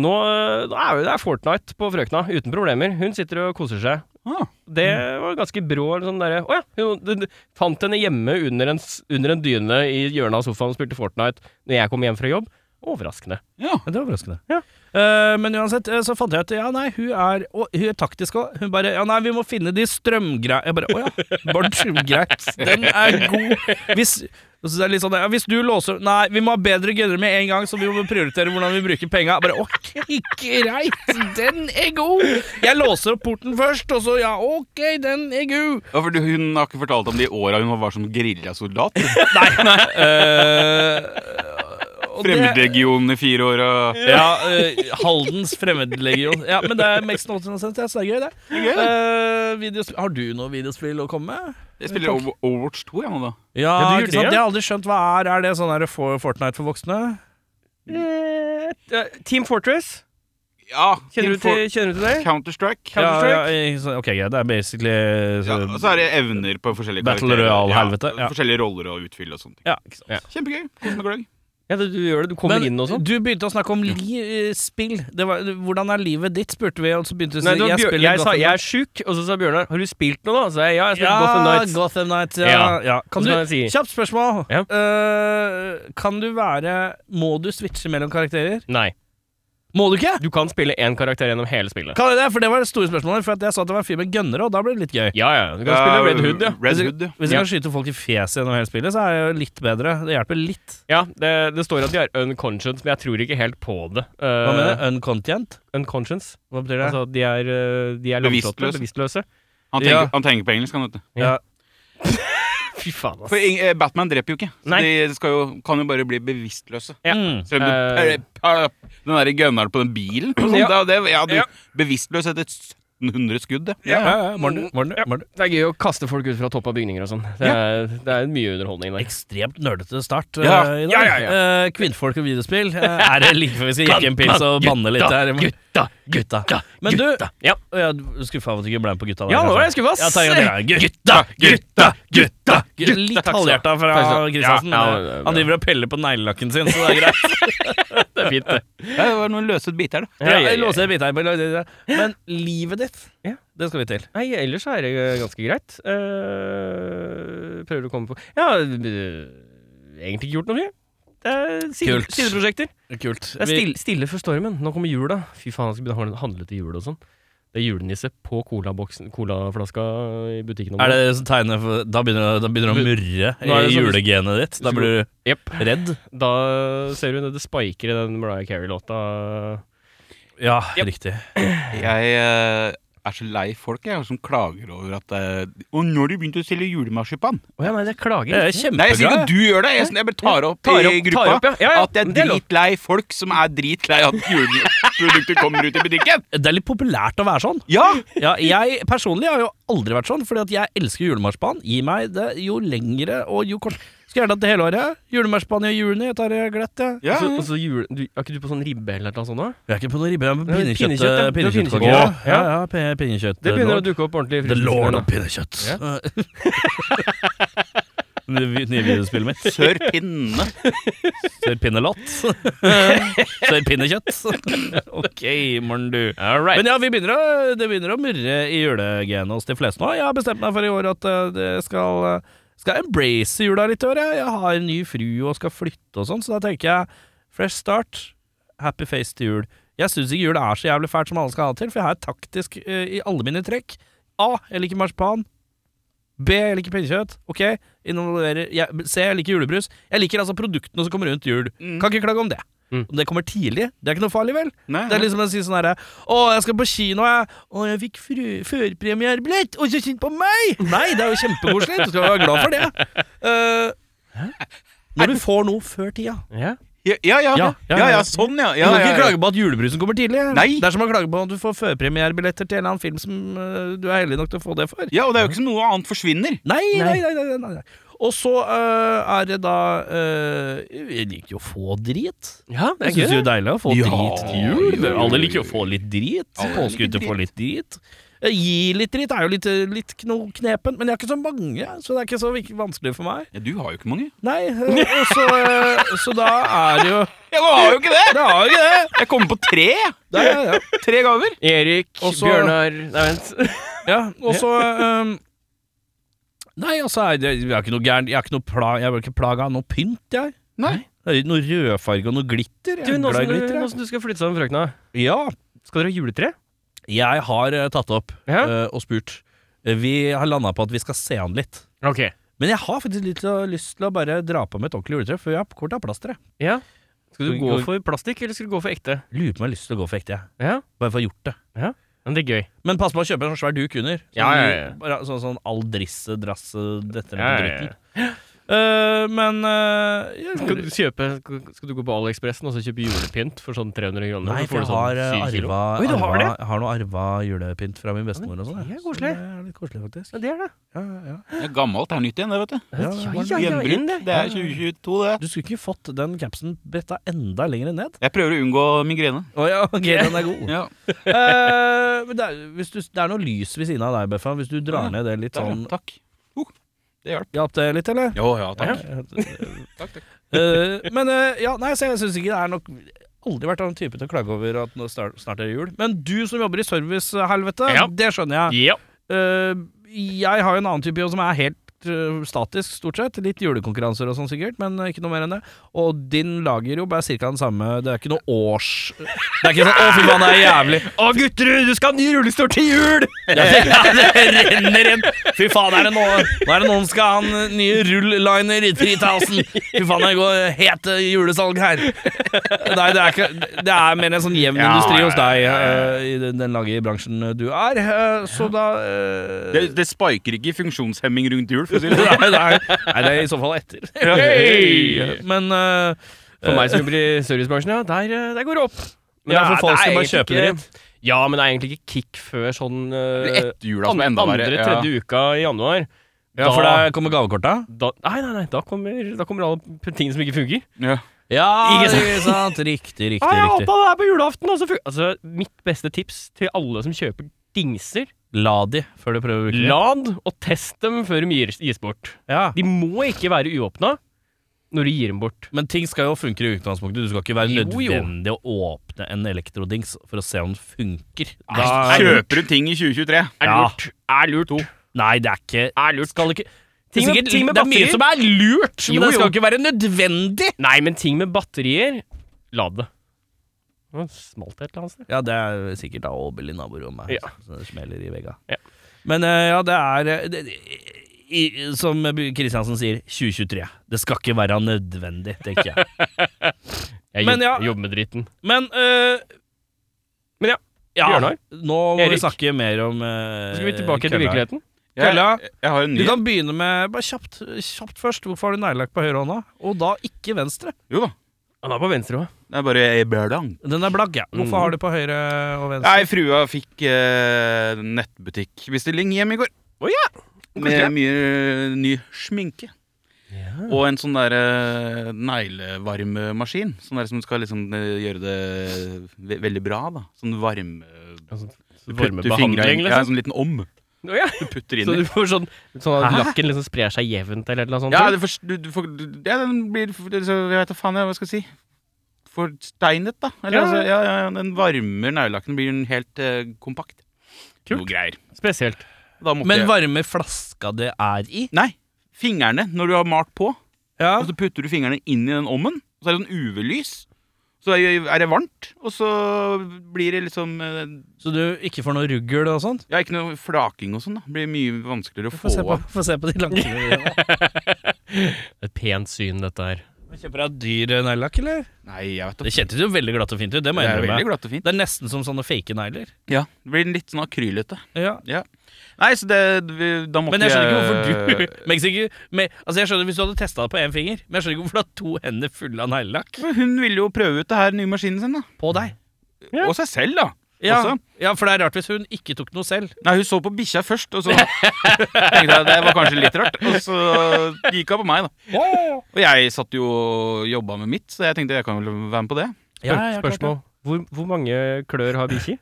S3: Nå, øh, nå er jo det er Fortnite på frøkna, uten problemer. Hun sitter og koser seg.
S2: Ah.
S3: Det var ganske brå sånn derre Å ja! Hun du- du- fant henne hjemme under en, s- under en dyne i hjørnet av sofaen og spilte Fortnite når jeg kom hjem fra jobb. Overraskende.
S2: Ja.
S1: Ja, det er overraskende.
S3: Ja.
S1: Eh, men uansett, eh, så fant jeg ut Ja, nei, hun er, og, hun er taktisk òg. Hun bare Ja, nei, vi må finne de strømgreiene Jeg bare Å ja. Bare strømgreit. Den er god. Hvis og så er det litt sånn, ja, hvis du låser Nei, vi må ha bedre gunner med en gang, så vi må prioritere hvordan vi bruker penga. Bare OK, greit. Den er god. Jeg låser opp porten først, og så ja, OK, den er god.
S2: Ja, for du- hun har ikke fortalt om de åra hun var som
S1: <laughs>
S2: geriljasoldat.
S1: Uh,
S2: Fremmedlegion i fire år og
S1: Ja, eh, Haldens fremmedlegion. Ja, men det er makes no sense, ja, så det er gøy, det.
S2: gøy, det.
S1: Eh, videosp- har du noe videospill å komme med?
S2: Jeg spiller Over- Overwatch 2, jeg nå, da.
S1: Ja,
S3: du gjør
S1: ikke sant?
S3: det, ja.
S1: Jeg har aldri skjønt hva er Er det sånn der for Fortnite for voksne?
S2: Mm.
S3: Eh, Team Fortress.
S2: Ja,
S3: Kjenner du til, kjenner du til det?
S2: Counter-Strike?
S3: Counter- Counterstrike?
S1: Ja, ja, ikke sant. ok, greit. Det er basically eh,
S2: Ja, og
S3: altså,
S2: så er det evner på forskjellige
S1: Battle
S2: karakterer.
S1: Royale-helvete, ja.
S2: Forskjellige roller å utfylle og sånne ting.
S1: ja, ikke sant.
S2: Kjempegøy. Kos meg gløgg.
S3: Ja, du, du gjør det. Du kommer
S1: Men
S3: inn og sånn.
S1: du begynte å snakke om li eh, spill. Det var, hvordan er livet ditt, spurte vi. Og så begynte du å si
S3: Nei, det var
S1: jeg
S3: Bjør-
S1: spiller
S3: jeg sa
S1: Gotham
S3: jeg er sjuk, og så sa Bjørnar har du spilt noe da? Så jeg ja, jeg spilte
S1: ja,
S3: Gotham Nights.
S1: Gotham Knights, ja.
S3: Ja.
S1: ja. Kan
S3: Så
S1: du,
S3: kan jeg si-
S1: kjapt spørsmål.
S3: Ja.
S1: Eh, kan du være Må du switche mellom karakterer?
S3: Nei,
S1: Må du ikke?
S3: du kan spille én karakter gjennom hele spillet.
S1: Kan jeg det? For det var det store spørsmålet. For at jeg sa at det var en fyr med gønnere, og da ble det litt gøy.
S3: Ja, ja, du kan spille Red Hood, ja.
S2: Red Hood, ja.
S1: Hvis du
S3: Ja.
S1: kan skyte folk i fjeset gjennom hele spillet, så er det jo litt bedre. Det hjelper litt.
S3: Ja, det, det står at de er unconscious, men jeg tror ikke helt på det. Eh,
S1: Hva mener du? Uncontent?
S3: Unconscious.
S1: Hva betyr det?
S3: Altså, de er, eh, de er lamslåtte,
S2: Bevisstløse.
S3: bevisstløse.
S2: Han tenker,
S1: Ja.
S2: han tenker på engelsk, han, vet du.
S1: ja.
S3: Fy faen, ass.
S2: For ing- eh, Batman dreper jo ikke. Så
S3: Nei.
S2: de skal jo, kan jo bare bli bevisstløse.
S3: Ja.
S1: Mm.
S2: Selv om du
S3: Eh.
S2: per- per- Den derre gunneren på den bilen og sånt,
S3: Ja.
S2: det, er jo det, ja, du,
S3: Ja.
S2: Bevisstløs etter 1700 skudd, det.
S1: Ja, ja, ja. Morten, Morten,
S3: Ja.
S1: Morten.
S3: Det er gøy å kaste folk ut fra topp av bygninger og sånn. Det, er- det er mye underholdning der.
S1: Ekstremt nerdete start eh,
S2: Ja.
S1: i dag.
S3: Ja, ja,
S1: Eh, kvinnfolk og videospill.
S3: <laughs>
S1: eh, er det like før vi skal jekke en pils og banne litt her?
S3: Gutta,
S1: Gutta. Men du,
S3: Ja,
S1: Å, ja, du skuffa over at du ikke ble med på gutta. der,
S3: ja nå
S1: kanskje?
S3: er jeg skuffa,
S1: Ja, takk,
S3: ass.
S1: takk, takk. Gutta, gutta, gutta, gutta.
S3: Takk
S1: Litt
S3: skal du ha.
S1: halvhjerta fra
S3: Takk skal du ha.
S1: Kristiansen. eh,
S3: Ja, ja, det er bra.
S1: Han driver og peller på neglelakken sin, så det
S3: <laughs>
S1: er greit.
S3: <laughs> Det er fint, det.
S2: Ja, det var noen løse biter, da.
S1: Ja, jeg låser en bit her, men- Men livet ditt,
S3: Ja.
S1: det skal vi til.
S3: Nei, ellers er det eh, ganske greit. Eh, prøver å komme på Ja, eh, egentlig ikke gjort noe mye. Det er side,
S1: Kult.
S3: sideprosjekter.
S1: Kult.
S3: Det er stille, stille før stormen. Nå kommer jula. Fy faen, jeg skal begynne å handle til jul og sånn. Det er julenisse på colaboksen- colaflaska i butikken. om
S1: Er
S3: dagen.
S1: det som tegner for Da begynner, da begynner det å murre
S3: Nå er
S1: i
S3: det sånn-
S1: julegenet ditt. Da blir du
S3: Jepp.
S1: redd.
S3: Da ser du når det spiker i den Mariah Carey-låta.
S1: Ja,
S3: Yep.
S1: riktig.
S2: Jeg eh, er så lei folk jeg, som klager over at eh, Og når har de begynt å selge julemarsipan?
S3: Å ja, nei, det klager.
S1: Det er
S3: ikke.
S2: Nei, jeg sier ikke
S1: kjempebra.
S2: at du gjør det. Jeg, jeg bare tar opp,
S3: Tar opp-
S2: i gruppa
S3: tar opp, ja. Ja, ja.
S2: at jeg
S3: Det er
S2: er
S3: lov.
S2: dritlei folk som er dritlei at juleprodukter kommer ut i butikken.
S1: Det er litt populært å være sånn.
S2: Ja!
S1: Ja, jeg personlig har jo aldri vært sånn, fordi at jeg elsker julemarsipan. Gi meg det jo lengre og jo kort. Skulle gjerne hatt det hele året. Julemarsipan i juni, jeg tar det glatt, jeg.
S2: ja.
S3: Og så- og så jule... Du, er ikke du på sånn ribbe eller noe sånt? da?
S1: Jeg er ikke på noe ribbe, jeg er på
S3: Nei,
S1: pinnekjøtt.
S3: pinnekjøtt, ja. Du
S1: eh,
S3: er
S1: pinnekjøtt
S3: pinnekjøtt,
S1: ja,
S3: ja.
S1: ja, pe- pinnekjøtt.
S3: Det begynner å
S1: lord.
S3: dukke opp ordentlig. i
S1: The lord
S3: frysediskene.
S1: of pinnekjøtt.
S3: Ja.
S1: <laughs> Det vi- nye videospillet mitt.
S2: Sør pinne.
S1: Sør <laughs> pinnelott. Sør pinnekjøtt. <laughs> Ok, morn du.
S3: All right.
S1: Men ja, vi begynner å, det begynner å murre i julegenet hos de fleste nå. Jeg har bestemt meg for i år at eh, det skal, eh, skal embrace jula litt i år. Jeg, jeg har en ny fru og skal flytte og sånn, så da tenker jeg fresh start, happy face til jul. Jeg syns ikke jul er så jævlig fælt som alle skal ha det til, for jeg er taktisk eh, i alle mine trekk. A. Jeg liker marsipan. B. Jeg liker pinnekjøtt. Ok, involverer jeg, C. Jeg liker julebrus. Jeg liker altså produktene som kommer rundt jul.
S2: Mm.
S1: Kan ikke klage om det.
S3: Mm.
S1: Om det kommer tidlig, det er ikke noe farlig, vel?
S2: Nei,
S1: Det er liksom å si sånn herre Å, jeg skal på kino, jeg. Å, jeg fikk frø- førpremierebillett, og så synd på meg! Nei, det er jo kjempekoselig. Du skal være glad for det. Eh, når du får noe før tida,
S3: Ja.
S2: Ja, ja.
S1: Ja,
S2: Ja, ja,
S1: ja,
S2: ja,
S1: ja.
S2: sånn, ja.
S1: Du
S2: ja,
S1: kan
S2: ja,
S1: ikke
S2: ja.
S1: klage på at julebrusen kommer tidlig.
S2: Nei.
S1: Det er som å klage på at du får førpremierebilletter til en eller annen film som øh, du er heldig nok til å få det for.
S2: ja, og det er jo ikke som noe annet forsvinner.
S1: Nei, nei, nei, nei, nei, nei. Og så øh, er det da øh, Jeg liker jo å få drit.
S3: Ja, det
S1: Jeg syns det er jo deilig å få
S2: Ja,
S1: drit til jul.
S2: jo, jo, jo.
S1: Alle liker å få litt drit.
S2: Alle
S1: Påskehytte
S2: liker
S1: får litt drit. Eh, Gi litt drit er jo litt, litt kno knepen, men jeg har ikke så mange, så det er ikke så vik- vanskelig for meg.
S2: Ja, du har jo ikke mange.
S1: Nei, eh, og så, eh, så da er det jo
S2: Jeg har jo ikke det!
S1: Det er jo ikke det!
S2: Jeg kommer på tre. jeg.
S1: det er, ja.
S2: Tre gaver.
S3: Erik,
S1: Og så-
S3: Bjørnar Nei, vent.
S1: Ja, og så ehm, Nei, altså, jeg, jeg, jeg er ikke noe gæren Jeg er ikke noe pla, jeg blir ikke plaga av noe pynt, jeg.
S2: Nei.
S1: Det er Noe rødfarge og noe glitter.
S3: Du,
S1: Jeg er
S3: nå
S1: glad i
S3: som du,
S1: glitter.
S3: nå
S1: jeg.
S3: som du skal flytte sammen med frøkna,
S1: Ja,
S3: skal dere ha juletre?
S1: jeg har eh, tatt opp
S3: Ja.
S1: eh, og spurt. Eh, Vi har landa på at vi skal se han litt.
S3: Ok.
S1: Men jeg har faktisk litt å- lyst til å bare dra på med et ordentlig juletre, for jeg har kort av plaster. jeg.
S3: Ja. Skal du
S1: Skal vi
S3: gå
S1: gå-
S3: for plastikk, eller skal du gå for ekte?
S1: Lurer på om jeg har lyst til å gå for ekte, jeg.
S3: Ja,
S1: Bare for å ha gjort det.
S3: men det er gøy.
S1: Men pass på å kjøpe en sånn svær duk under. Sånn,
S3: Ja, ja, ja.
S1: Bare, sånn, sånn all drisse, drasse, dette
S3: Ja,
S1: med
S3: ja,
S1: dritten. Eh, men eh,
S3: Skal du,
S1: jeg,
S3: kjøpe, skal du gå på AliExpressen og så kjøpe julepynt for sånn 300 kroner?
S1: Nei,
S3: Så får
S1: for
S3: du
S1: jeg
S3: sånn
S1: har eh,
S3: syv kilo.
S1: arva,
S3: Oi, du har
S1: arva,
S3: det?
S1: jeg har noe arva julepynt fra min bestemor og sånn. jeg.
S3: det er
S1: Så
S3: koselig.
S1: Det er litt koselig, faktisk.
S3: Ja, det er det.
S1: Ja, ja, ja.
S2: Det er gammelt, det er nytt igjen, det, vet du.
S1: Ja, ja, ja.
S3: inn
S2: Gjenbrukt.
S3: det.
S2: Det er 2022, det.
S1: Du skulle ikke fått den capsen bretta enda lenger ned.
S2: Jeg prøver å unngå migrene.
S1: Å <laughs> ja, ok, den er god.
S2: Ja,
S1: Eh, men det, er, hvis du, det er noe lys ved siden av deg, Beffa. Hvis du drar
S2: Ja,
S1: ned det litt
S2: der, ja.
S1: sånn
S2: Takk. Uh, det hjalp.
S1: Hjalp det litt, eller?
S2: Jo, ja,
S3: takk.
S1: <laughs>
S2: Takk, takk.
S1: Eh, men eh, ja, nei, så jeg syns ikke det er nok Aldri vært av den type til å klage over at nå snart, snart er det jul. Men du som jobber i servicehelvete,
S3: Ja.
S1: det skjønner jeg.
S3: Ja.
S1: Eh, jeg har jo en annen type jobb som er helt eh, statisk, stort sett. Litt julekonkurranser og sånn sikkert, men eh, ikke noe mer enn det. Og din lagerjobb er ca. den samme. Det er ikke noe års... Det er ikke sånn 'Å, fy faen, det er jævlig'.
S3: Å, gutter, du skal ha ny rullestol til jul!
S1: <laughs> Ja, det, det renner inn. Fy faen, er det noen, nå er det noen skal ha en eh, ny rull-liner i 3000. Fy faen, det går het eh, julesalg her. Nei, det er, ikke, det er mer en sånn jevn
S2: Ja,
S1: industri hos
S2: ja,
S1: deg eh, i den, den lagerbransjen du er. eh, Så da eh,
S2: Det, det spiker ikke funksjonshemming rundt jul, for å si det <laughs> sånn.
S1: <laughs> Nei, det er, nei, det er i så fall <laughs> etter.
S2: Hey!
S1: Men eh,
S3: For meg som jobber i servicebransjen, ja, der, eh, der går det opp.
S1: Ja,
S3: det er-
S1: for folk
S3: det er
S1: som bare
S3: egentlig
S1: kjøper det
S3: ikke- Ja, men det er egentlig ikke kick før sånn eh,
S2: Eller etter jula, som er enda verre.
S3: andre, tredje uka i januar.
S1: ja, for da kommer gavekorta?
S3: da, Nei, nei, nei, da kommer, da kommer alle p- ting som ikke fungerer.
S2: Ja.
S1: Ja,
S3: Ikke sant?
S1: ikke sant. Riktig, riktig.
S3: Ah, jeg
S1: riktig.
S3: håpa det er på julaften! Altså, fun- altså, mitt beste tips til alle som kjøper dingser
S1: La de før du prøver å bruke dem.
S3: Lad og test dem før de gir- gis bort.
S1: Ja.
S3: De må ikke være uåpna når du gir dem bort.
S1: Men ting skal jo funke i utgangspunktet. Du skal ikke være
S3: Jo, jo.
S1: nødvendig å åpne en elektrodings for å se om den funker.
S3: Nei,
S1: er-
S3: kjøp.
S2: Kjøper du ting i 2023?
S3: Er
S1: Ja.
S3: lurt. Er lurt.
S1: Nei, det er ikke
S3: Er lurt.
S1: Skal ikke
S3: Ting med-
S1: det er sikkert-
S3: ting med
S1: Det er mye
S3: batteri.
S1: som er lurt, men
S3: Jo,
S1: det skal
S3: jo.
S1: ikke være nødvendig!
S3: Nei, men ting med batterier Lad det. Nå smalt det et eller annet sted.
S1: Ja, det er sikkert da Åbel i naborommet,
S3: Ja.
S1: så det smeller i vegga.
S3: Ja.
S1: Men eh, ja, det er eh, det, i, Som Kristiansen sier, 2023. Det skal ikke være nødvendig, tenker jeg.
S3: <laughs> Jeg
S1: Men
S3: jobb,
S1: ja.
S3: jobber med driten.
S1: Men eh,
S3: Men ja, Bjørnar?
S1: nå må
S3: Erik?
S1: vi snakke mer om
S3: Så
S1: uh,
S3: skal vi tilbake til virkeligheten.
S2: Jeg,
S1: Kølla.
S2: jeg har en
S1: Du
S2: ny
S1: kan begynne med bare kjapt, kjapt først. Hvorfor har du neglelakk på høyrehånda? Og da ikke venstre.
S2: Jo da.
S3: Han er på venstre òg.
S2: Det er bare jeg bør det, han.
S1: Den er blagg, ja. Hvorfor
S3: Mm.
S1: har du på høyre og venstre?
S2: Nei, frua fikk eh, nettbutikkbestilling hjem i går.
S3: Å ja.
S2: Med mye eh, ny sminke. Og en sånn der eh, neglevarmemaskin. Sånn der som skal liksom eh, gjøre det eh, ve veldig bra, da. Sånn varme... Du putter fingra
S3: Varmebehandling,
S2: inn Ja, en
S3: liksom.
S2: sånn liten om
S3: Å ja.
S2: du putter
S3: Så
S2: inn i.
S3: du får sånn, sånn at
S2: Hæ?
S3: lakken liksom sprer seg jevnt, eller noe sånt?
S2: Ja, det får, du, du får du- Ja, den blir det- så Jeg vet da faen jeg, hva skal jeg si. Forsteinet, da. Eller
S3: Ja, ja.
S2: altså, ja, ja, ja, den varmer neglelakken. Blir den helt eh, kompakt.
S3: Kult.
S2: Noe greier.
S3: Spesielt.
S2: Da måtte
S1: Men
S2: jeg-
S1: varmer flaska det er i?
S2: Nei, fingrene når du har malt på.
S1: Ja.
S2: Og så putter du fingrene inn i den ommen, og så er det sånn UV-lys. Så er er det varmt, og så blir det liksom eh,
S1: Så du ikke får noe ruggel og sånt?
S2: Ja, ikke noe flaking og sånn, da. Det blir mye vanskeligere å
S1: Få
S2: få
S1: se på,
S2: av.
S1: <laughs> få se på de lakkene dine.
S3: Et pent syn, dette her.
S1: Kjøper deg dyr neglelakk, eller?
S2: Nei, jeg vet
S1: Det
S2: da.
S1: kjentes jo veldig glatt og fint ut. Det må
S2: Det
S1: jeg
S2: er veldig
S1: innrømme.
S2: glatt og fint.
S1: Det er nesten som sånne fake negler.
S2: Ja, det blir litt sånn akrylete.
S1: Ja.
S2: Ja. Nei, så det vi- Da måtte
S1: Men jeg skjønner ikke hvorfor
S2: jeg- <laughs>
S1: du <laughs> Mexico, med, Altså jeg skjønner Hvis du hadde testa det på én finger, men jeg skjønner ikke hvorfor du har to hender fulle av neglelakk
S2: For Hun ville jo prøve ut det her nye maskinen sin, da.
S1: på deg.
S3: Ja.
S2: Og seg selv, da.
S1: Ja,
S2: Også.
S1: ja, for det er rart hvis hun ikke tok noe selv.
S2: Nei, hun så på bikkja først, og så <laughs> tenkte jeg det var kanskje litt rart. Og så gikk hun på meg, da. Og jeg satt jo og jobba med mitt, så jeg tenkte jeg kan vel være med på det.
S3: Spørsmål. Hvor, hvor mange klør har bikkjer?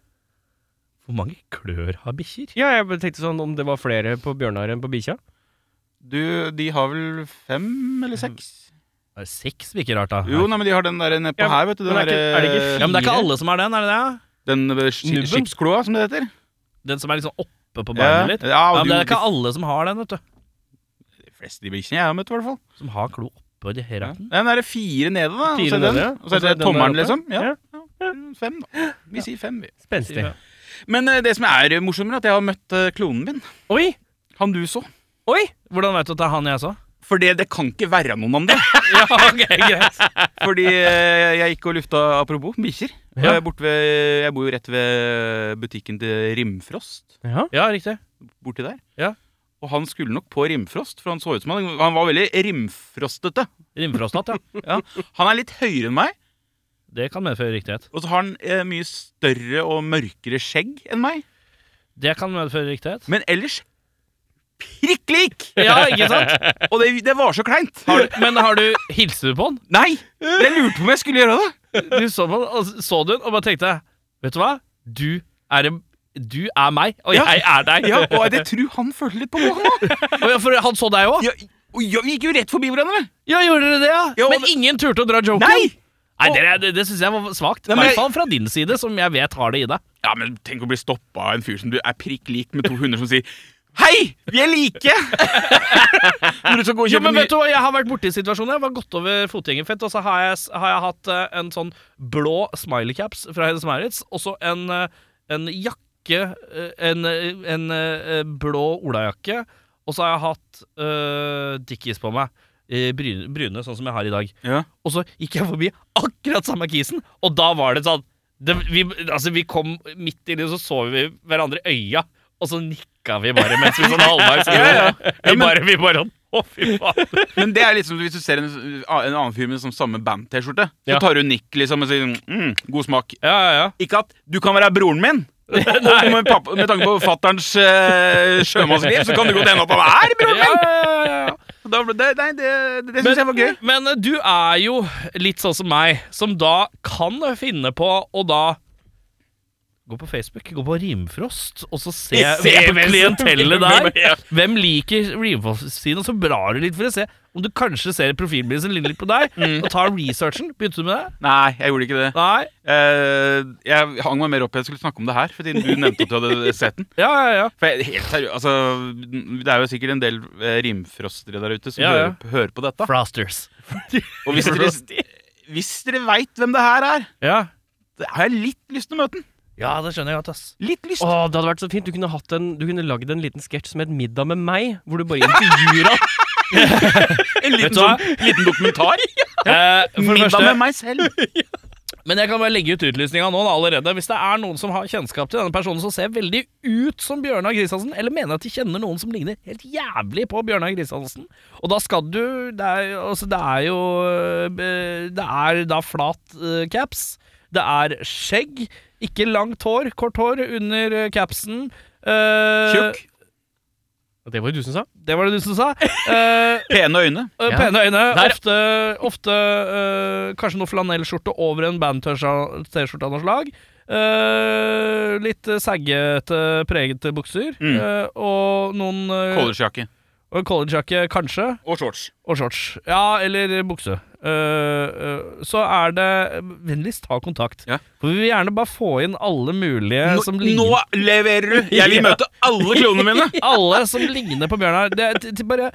S1: Hvor mange klør har bikkjer?
S3: Ja, jeg bare tenkte sånn om det var flere på Bjørnar enn på bikkja.
S2: Du, de har vel fem eller seks?
S1: Er det Seks virker rart, da.
S2: Jo, nei, men de har den der nedpå
S3: Ja,
S2: her, vet du. Den
S3: men er ikke- er det ikke
S1: ja,
S2: derre
S1: Men det er ikke alle som har den, er det det?
S2: Den eh,
S3: Nubben?
S2: sk- skipskloa, som det heter.
S1: Den som er liksom oppe på beinet litt?
S2: Ja,
S1: Ja, men
S2: og
S1: det er
S2: du,
S1: ikke alle som har den, vet du.
S2: de fleste bikkjene jeg har møtt, i hvert fall.
S1: Som har klo oppå de
S2: Ja.
S1: heraten.
S2: Den er det fire nede, da. og så
S3: Fire
S2: er
S3: nede,
S2: den-
S3: ja.
S2: Og så er det
S3: den der
S2: tommelen,
S3: oppe.
S2: liksom. Ja.
S3: Ja.
S2: ja, Fem, da. Vi sier fem, vi.
S3: Spenstig.
S1: Ja.
S2: Men eh, det som er eh, morsommere, er at jeg har møtt eh, klonen min.
S3: Oi!
S2: Han du så.
S3: Oi!
S1: Hvordan veit du at det er han jeg så?
S2: For det, det kan ikke være noen andre.
S1: <laughs> Ja, ok, greit
S2: Fordi eh, jeg gikk og lufta, apropos, bikkjer. Og
S3: Ja.
S2: jeg er borte ved- Jeg bor jo rett ved butikken til Rimfrost.
S3: Ja.
S1: <laughs> Ja, riktig.
S2: Borti der.
S1: Ja.
S2: Og han skulle nok på Rimfrost, for han så ut som han Han var veldig rimfrostete.
S1: Rimfrostnatt, ja.
S2: Ja. Han er litt høyere enn meg,
S1: Det kan medføre riktighet.
S2: og så har han eh, mye større og mørkere skjegg enn meg.
S1: Det kan medføre riktighet.
S2: Men ellers prikk lik!
S1: <laughs> Ja, <laughs> ikke sant?
S2: Og det, det var så kleint.
S1: Har du, men har du hilst du på han?
S2: Nei! Jeg lurte på om jeg skulle gjøre det.
S1: Du så på han, og så- så du han, og bare tenkte Vet du hva? Du er en du er meg, og
S2: Ja.
S1: jeg er <laughs> deg.
S2: Ja, og jeg tror han følte litt på noe. han også.
S1: Og ja, For han så deg òg?
S2: Ja, og ja, vi gikk jo rett forbi hverandre.
S1: Ja, gjorde dere det? ja?
S2: Ja, og
S1: men
S2: det-
S1: ingen turte å dra joken?
S2: Nei!
S1: Nei, Det, er- det, det syns jeg var svakt. I
S2: Nei, men
S1: hvert
S2: jeg-
S1: fall fra din side, som jeg vet har det i deg.
S2: Ja, men tenk å bli stoppa av en fyr som du er prikk lik med to hunder som sier Hei, vi er like! Når du skal gå og
S1: Jo,
S2: kjøpe
S1: men
S2: nye
S1: vet du, hva, Jeg har vært borti situasjonen. Jeg var gått over fotgjengerfelt, og så har jeg, har jeg hatt eh, en sånn blå smileycaps fra Hennes Maurits, og så en, eh, en jakke eh, En, eh, en eh, blå olajakke, og så har jeg hatt eh, Dickies på meg. eh, Brune, brune, sånn som jeg har i dag.
S2: ja.
S1: Og så gikk jeg forbi akkurat samme kisen, og da var det sånn det, vi, altså, vi kom midt inni, og så så vi hverandre i øya, og så nikka vi bare mens vi <laughs> sånn halvveis
S2: Ja, ja.
S1: Vi bare, vi bare Å, fy faen.
S2: Men det er litt som hvis du ser en, en annen fyr med sånn samme band-T-skjorte. Så
S1: Ja.
S2: tar du nikk liksom og sier mm, 'god smak'.
S1: Ja, ja, ja.
S2: Ikke at du kan være broren
S1: <laughs>
S2: min. Og med, pappa, med tanke på fatterns eh, sjømannsliv, så kan det godt hende at han er broren
S1: ja,
S2: min!
S1: ja, ja, ja.
S2: Da ble det, nei, det, det, det syns jeg var gøy.
S1: Eh, Men eh, du er jo litt sånn som meg, som da kan finne på å da Gå på Facebook, gå på Rimfrost, og så se,
S3: Se
S1: på
S3: hvem som-
S1: klientellet
S3: Ja.
S1: der. Hvem liker Rimfrost-siden? Og så blar du litt for å se om du kanskje ser profilbildet som ligner litt på deg. Og tar researchen. Begynte du med det?
S2: Nei, jeg gjorde ikke det.
S1: Nei?
S2: Eh, jeg hang meg mer opp i at jeg skulle snakke om det her, fordi du nevnte at
S1: <laughs>
S2: du hadde sett den.
S1: Ja, ja, ja.
S2: For jeg, helt seriøst, altså Det er jo sikkert en del eh, rimfrostere der ute som
S1: Ja, ja.
S2: Hører, hører på dette.
S1: Frosters.
S2: Og hvis dere, hvis dere veit hvem det her er,
S1: Ja.
S2: da har jeg litt lyst til å møte den.
S1: ja, det skjønner jeg godt, ass.
S2: Litt lyst.
S3: Å, det hadde vært så fint. Du kunne, hatt en, du kunne lagd en liten sketsj som het 'Middag med meg', hvor du bare intervjuer <laughs> han.
S2: en
S1: Vet
S2: liten,
S1: du hva?
S2: sånn, liten
S1: <laughs>
S2: dokumentar.
S1: Eh, for det
S2: Middag
S1: første,
S2: med meg selv.
S1: Men jeg kan bare legge ut utlysninga nå da, allerede. Hvis det er noen som har kjennskap til denne personen som ser veldig ut som Bjørnar Kristiansen, eller mener at de kjenner noen som ligner helt jævlig på Bjørnar Kristiansen Og da skal du Det er, altså, det er jo eh, Det er da flat eh, caps. Det er skjegg. Ikke langt hår. Kort hår under eh, capsen. Eh,
S2: Tjukk.
S3: Det var jo du som sa.
S1: Det var det du som sa. Eh,
S2: Pene øyne.
S1: Eh,
S3: Ja.
S1: Pene øyne.
S3: Der-
S1: Ofte, ofte eh, kanskje noe flanellskjorte over en band-T-skjorte av noe slag. Eh, litt eh, saggete, pregete bukser.
S2: Mm.
S1: eh, og noen eh,
S2: Collegejakke.
S1: og en collegejakke, kanskje.
S2: Og shorts.
S1: Og shorts. Ja, eller bukse. Eh, eh, så er det Vennligst ta kontakt.
S2: Ja.
S1: For vi vil gjerne bare få inn alle mulige
S2: Nå,
S1: som
S2: nå
S1: ligner
S2: leverer du! <laughs> Jeg vil
S1: Ja.
S2: møte alle klonene mine.
S1: Alle som ligner på Bjørnar. Det, er t- t- bare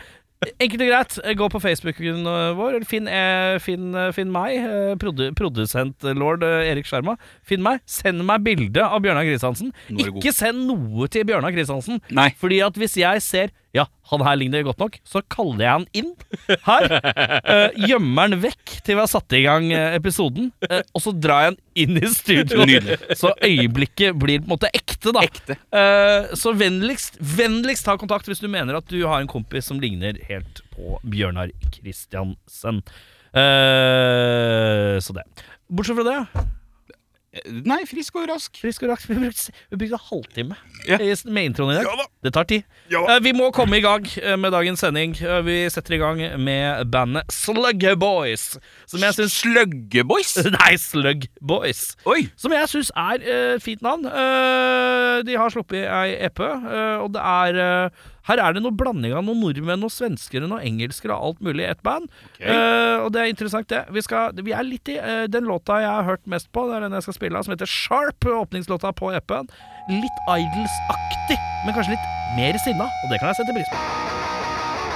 S1: Enkelt og greit, gå på Facebooken vår. eller Finn, eh, finn, eh, finn meg, eh, produ, produsentlord eh, Erik Skjerma. Finn meg, Send meg bilde av Bjørnar Kristiansen.
S2: Nå er du god.
S1: Ikke send noe til Bjørnar Kristiansen.
S2: <laughs> Nei.
S1: Fordi at hvis jeg ser Ja, han her ligner godt nok, så kaller jeg han inn her.
S2: <laughs>
S1: eh, gjemmer han vekk til vi har satt i gang eh, episoden, eh, og så drar jeg han inn i studio.
S2: Nydelig.
S1: Så øyeblikket blir på en måte ekte, da.
S2: Ekte.
S1: Eh, så vennligst, vennligst ta kontakt hvis du mener at du har en kompis som ligner helt på Bjørnar Kristiansen. Eh, så det. Bortsett fra det,
S2: Nei, frisk og rask.
S1: frisk og rask. <laughs> Vi brukte, vi brukte en halvtime
S2: Ja.
S1: i s- med introen i dag.
S2: Ja da.
S1: Det tar tid.
S2: Ja.
S1: Eh, vi må komme i gang eh, med dagens sending. Eh, vi setter i gang med bandet Slugger Boys. Som jeg syns <laughs>
S2: Sløggeboys.
S1: Nei, Slug Boys.
S2: <laughs> Oi!
S1: Som jeg syns er eh, fint navn. Eh, de har sluppet ei EP, eh, og det er eh, Her er det noe blanding av noen nordmenn og svensker og noen engelsker og alt mulig i ett band.
S2: Ok.
S1: Eh, og det er interessant, det. Vi, skal, vi er litt i eh, den låta jeg har hørt mest på, det er den jeg skal spille av, som heter Sharp, åpningslåta på EP-en. Litt Idols-aktig, men kanskje litt mer sinna, og det kan jeg sette pris på.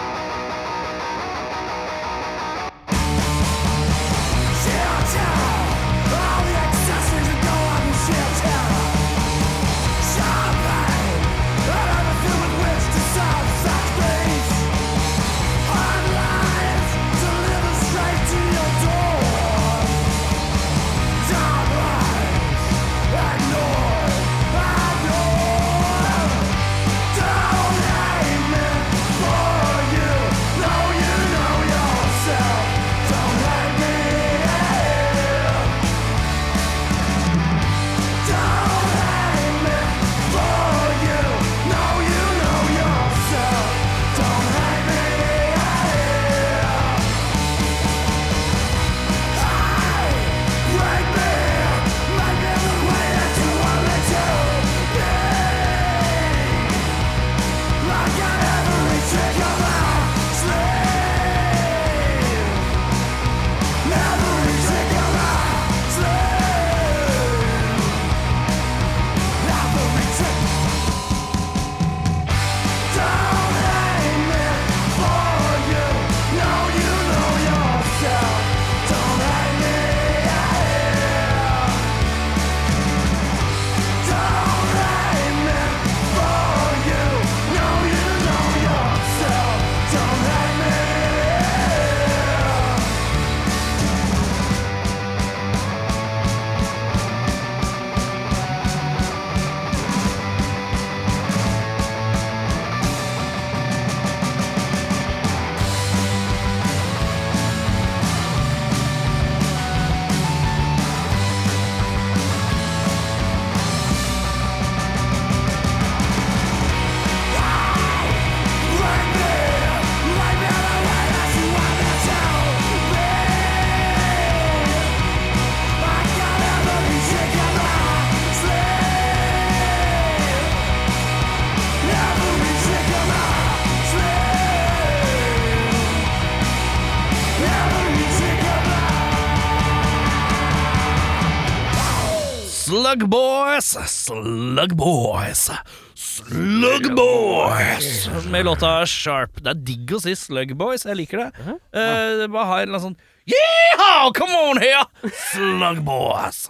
S1: Slug Boys, Slug Boys, Slug Boys Med låta Sharp. Det er digg å si Slug Boys, jeg liker det. Eh, det bare har en eller annen sånn Yeehaw, come on here! Slug Boys.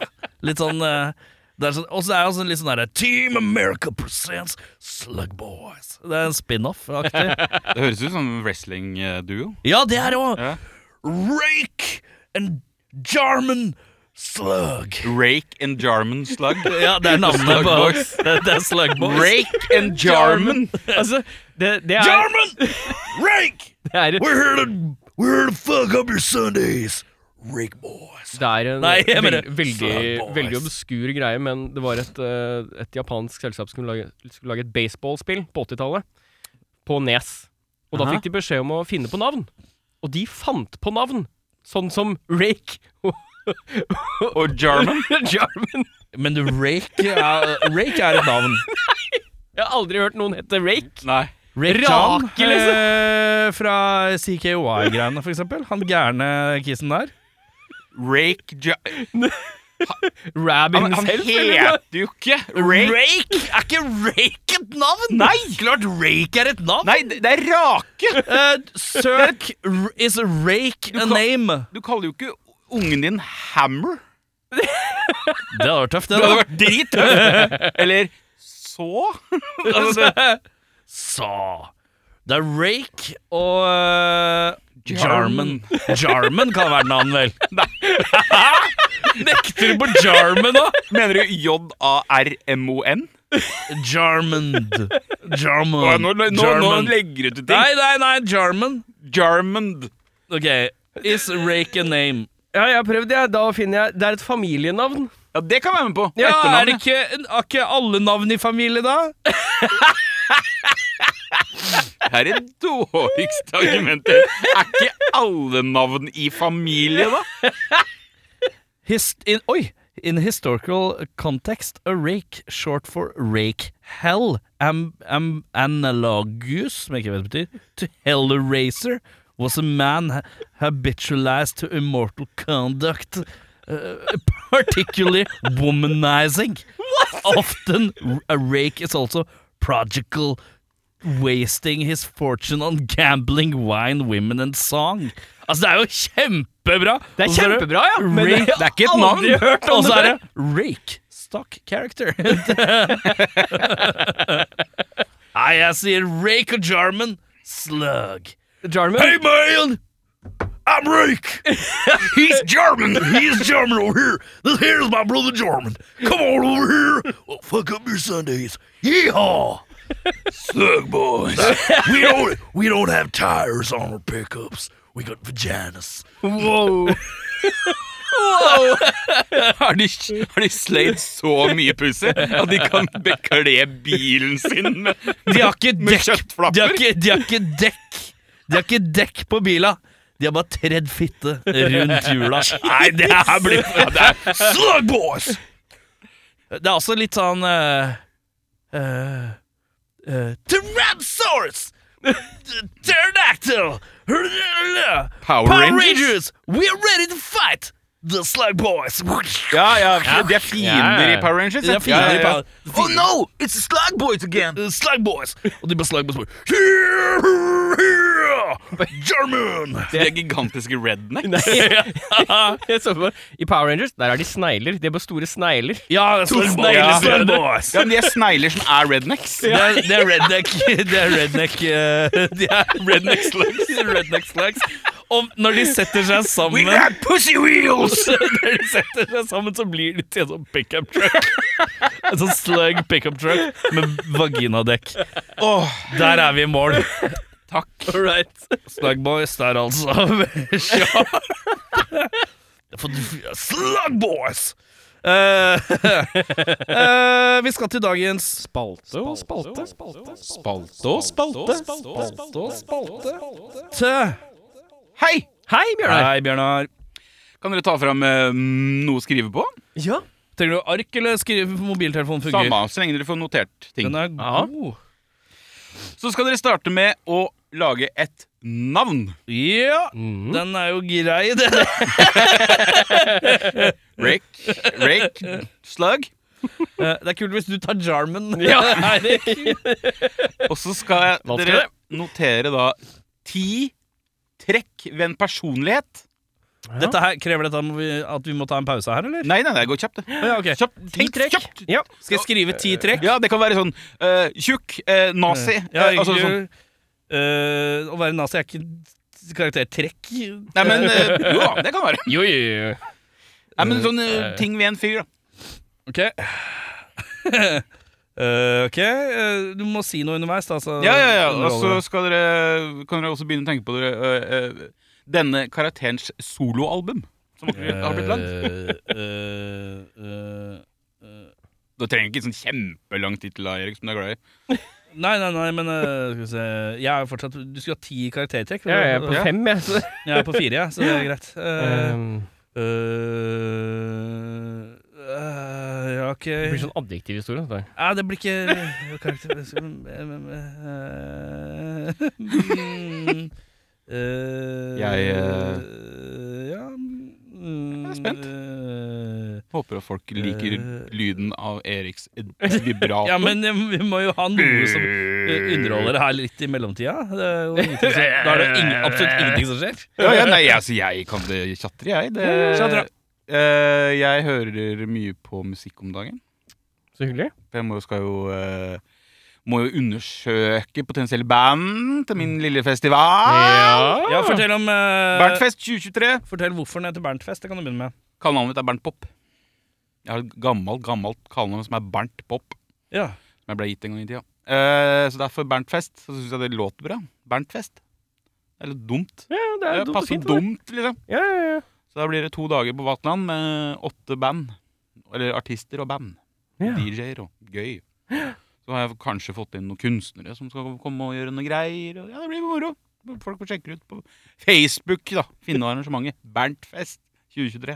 S1: Litt sånn eh, det er sånn, Og så er det også litt sånn derre Team America presents Slug Boys. Det er en spin-off-aktig. <laughs>
S2: Det høres ut som en wrestling-duo.
S1: Ja, det er det òg.
S2: Ja.
S1: Rake and Jarman Slug.
S2: Rake and Jarman <laughs> Slug.
S1: Ja, det er navnet
S2: Slug
S1: på
S2: Boys.
S1: Det, det er Slug Boys.
S2: Rake and Jarman.
S3: Altså, det, det er,
S1: Jarman! Rake!
S3: det er,
S1: We're here to We're here to fuck up your Sundays, Rake boys.
S3: det er en
S1: Nei, jeg
S3: veld,
S1: mener-
S3: veldig,
S1: Slug boys.
S3: veldig obskur greie, men det var et, eh, et japansk selskap som skulle lage, skulle lage et baseballspill på 80-tallet, på Nes. Og da
S2: Aha.
S3: fikk de beskjed om å finne på navn. Og de fant på navn! Sånn som Rake og <laughs>
S2: Og Jarman.
S3: Jarman.
S1: Men du, Rake er, Rake er et navn.
S3: Jeg har aldri hørt noen hete Rake.
S2: Nei.
S1: Rake
S3: Rake,
S1: John,
S3: liksom.
S1: eh, fra CKY-greiene, for eksempel. Han gærne kissen der.
S2: Rake ja,
S3: Rab
S2: men Han
S3: himself. eller noe.
S2: heter jo ikke Rake.
S1: Er ikke Rake et navn? Nei! Klart Rake er et navn.
S2: Nei, det det er Rake.
S1: Eh, søk r- Is Rake a
S2: kan-
S1: name?
S2: Du kaller jo ikke ungen din Hammer.
S1: Det hadde vært tøft, det.
S2: Det hadde vært <laughs> drittøft. Eller så. Altså,
S1: Sa Det er Rake og øh, Jarman.
S2: Jarman.
S1: Jarman kan være navn, <laughs> vel? Nekter du på Jarman nå?
S2: Mener du J-A-R-M-O-N?
S1: Jarmond. Jarmond.
S2: Nå, nå, nå, nå
S1: Jarmond.
S2: legger du til ting.
S1: Nei, nei, nei, Jarman.
S2: Jarmond.
S1: Ok, is Rake a name?
S3: Ja, jeg har prøvd, jeg. Da finner jeg Det er et familienavn.
S2: Ja, det kan være med på.
S1: Ja,
S2: Etternavn,
S1: er det ikke, er ikke alle navn i familie, da?
S2: Det er det dårligste argumentet. Er ikke alle navn i familie, da?
S1: Hist in, oi! In historical context, a rake, short for rake hell, am, am, analogous, som jeg ikke vet hva betyr, to hell eraser, was a man ha- habitualized to immortal conduct, uh, particularly womanizing. Often a rake is also prodigal, wasting his fortune on gambling, wine, women and song. Altså, det er jo kjempebra!
S3: Det er
S1: Og så det-
S3: kjempebra, ja. Men
S1: Rake.
S3: jeg
S2: Det er ikke
S3: har
S2: et navn.
S3: aldri hørt om
S1: Og så
S3: det.
S1: er
S3: før.
S1: det rake stock
S3: <laughs>
S1: character. Nei, jeg sier rake og jarman slug.
S3: Jarman. <laughs>
S1: Hey, man! I'm Rake. He's German. He's German over here. This here is my brother German. Come on over here. Well, fuck up your Sundays. Yeehaw! Slug boys. we don't we don't have tires on our pickups. We got vaginas. <laughs>
S3: Wow.
S2: Har de, har de sleit så mye pussy at de kan bekle bilen sin med,
S1: De har ikke
S2: <laughs>
S1: dekk De
S2: med
S1: har
S2: kjøttflapper?
S1: ikke, de har ikke dekk De har ikke dekk på bila De har bare tredd fitte rundt hjula Nei, det <laughs> er blitt
S2: Ja, det er
S1: Slug boys Det er også litt sånn uh, uh, uh, Tyrannosaurus Pterodactyl
S2: Power
S1: Power
S2: Rangers.
S1: Rangers We are ready to fight The Slug Boys
S2: Ja, ja, de er
S3: Ja,
S2: fiender
S3: ja.
S2: i Power Rangers.
S1: De er fiender i Power-
S2: Oh no, it's the Slug Boys again.
S1: Uh, Slug Boys Og de bare Slug Boys bare, "Here, here, German
S2: De er gigantiske redneck.
S3: Nei, jeg så på I Power Rangers der er de snegler. De er bare store snegler.
S1: Ja, Slug
S2: snegler,
S1: Boys.
S2: Slug
S1: Slug Boys.
S2: Ja, men de er snegler som er rednecks.
S1: <laughs> Det er, det er redneck <laughs> Det er redneck eh, <laughs> De er redneck slugs. redneck slugs. Og når de setter seg sammen
S2: pussy
S1: <laughs>
S2: wheels!
S1: Når de setter seg sammen, så blir de til en sånn pickup truck. En sånn slug pickup truck med vaginadekk.
S2: Åh,
S1: Der er vi i mål.
S2: takk.
S3: All right.
S1: Slug Boys der, altså. <laughs> Ja. For- Slug Boys! Eh, <laughs> eh, vi skal til dagens
S4: Spalte og spalte.
S2: Spalte og spalte.
S4: Spalte og spalte.
S1: Tø.
S2: Hei!
S3: Hei, Bjørnar.
S1: Hei, Bjørnar.
S2: Kan dere ta fram eh, noe å skrive på?
S3: Ja.
S1: Trenger du ark eller skrive på mobiltelefonen fungerer?
S2: Samme, så lenge dere får notert ting.
S1: Den er
S3: Ja.
S1: god.
S2: Så skal dere starte med å lage et navn.
S1: Ja,
S3: Mm.
S1: den er jo grei,
S2: <laughs>
S1: det.
S2: Rake, rake, slug.
S1: Eh, Det er kult hvis du tar Jarman. <laughs>
S2: <laughs>
S3: Ja.
S1: Eirik.
S2: Og så skal
S3: Hva skal
S2: dere notere da ti trekk ved en personlighet.
S1: Dette her, krever dette at vi- at vi må ta en pause her, eller?
S2: Nei, nei, det går kjapt. det.
S1: Å Ja, ok. Eh,
S2: Kjapt, tenk
S3: trekk.
S2: kjapt.
S3: Ja.
S1: Skal jeg skrive ti trekk?
S2: Ja, det kan være sånn eh, tjukk, eh, nazi
S1: Ja,
S2: eh, altså sånn.
S1: eh, å være nazi er ikke karaktertrekk.
S2: Nei, men eh, Jo da, det kan være.
S3: Jo, jo, jo.
S2: Nei, men sånn eh, ting ved en fyr, da.
S1: Ok. <laughs> Eh, ok, eh, du må si noe underveis, da. Så
S2: Ja, ja, ja. Altså, Og så
S1: underholder det.
S2: skal dere, kan dere også begynne å tenke på dere eh, eh, denne karakterens soloalbum. Som akkurat har blitt lagd.
S1: Eh, eh, eh,
S2: Du trenger ikke en sånn kjempelang tittel, da, Erik, som du er glad i.
S1: Nei, nei, nei, men eh, skal vi se Jeg er jo fortsatt Du skulle ha ti karaktertrekk. vel?
S3: Jeg er på
S1: Ja.
S3: fem, jeg.
S1: Jeg er på fire, jeg, så det er greit. Eh,
S3: Um,
S1: eh, eh, ja, ok
S3: det blir sånn adjektiv historie. dette her.
S1: Nei, det blir ikke karakter... eh, mm, eh,
S2: Jeg,
S1: Ja mm,
S2: er spent.
S1: eh,
S2: Håper at folk liker
S1: Eh.
S2: lyden av Eriks
S1: <laughs>
S2: vibrato.
S1: ja, men eh, vi må jo ha noe som eh, underholder her litt i mellomtida. Det er jo ingenting som, da er det ingen, absolutt ingenting som skjer.
S2: ja, ja, Nei, altså, jeg kan det tjatre, jeg. Det,
S1: Tjatre.
S2: Eh, jeg hører mye på musikk om dagen.
S3: Så hyggelig.
S2: For jeg må, skal jo eh, må jo undersøke potensielle band til min lille festival.
S3: Ja.
S1: Ja, fortell om eh,
S2: Berntfest 2023.
S1: Fortell hvorfor den heter Berntfest. Det kan du begynne med.
S2: Kallenavnet mitt er Bernt Pop. Jeg har et gammelt, gammelt kallenavn som er Bernt Pop.
S1: Ja.
S2: Som jeg ble gitt en gang i tida. Eh, så derfor Berntfest. Så syns jeg det låter bra. Berntfest. Det er litt dumt.
S3: Ja, det
S2: Det
S3: er dumt og
S2: passer
S3: fint. det.
S2: dumt, liksom.
S3: Ja, ja, ja.
S2: Så da blir det to dager på Vatland med åtte band. Eller artister og band.
S3: Ja.
S2: DJ-er og gøy. Så har jeg kanskje fått inn noen kunstnere som skal komme og gjøre noe greier. og Ja, det blir moro. Folk får sjekke det ut på Facebook, da. Finne arrangementet. Berntfest 2023.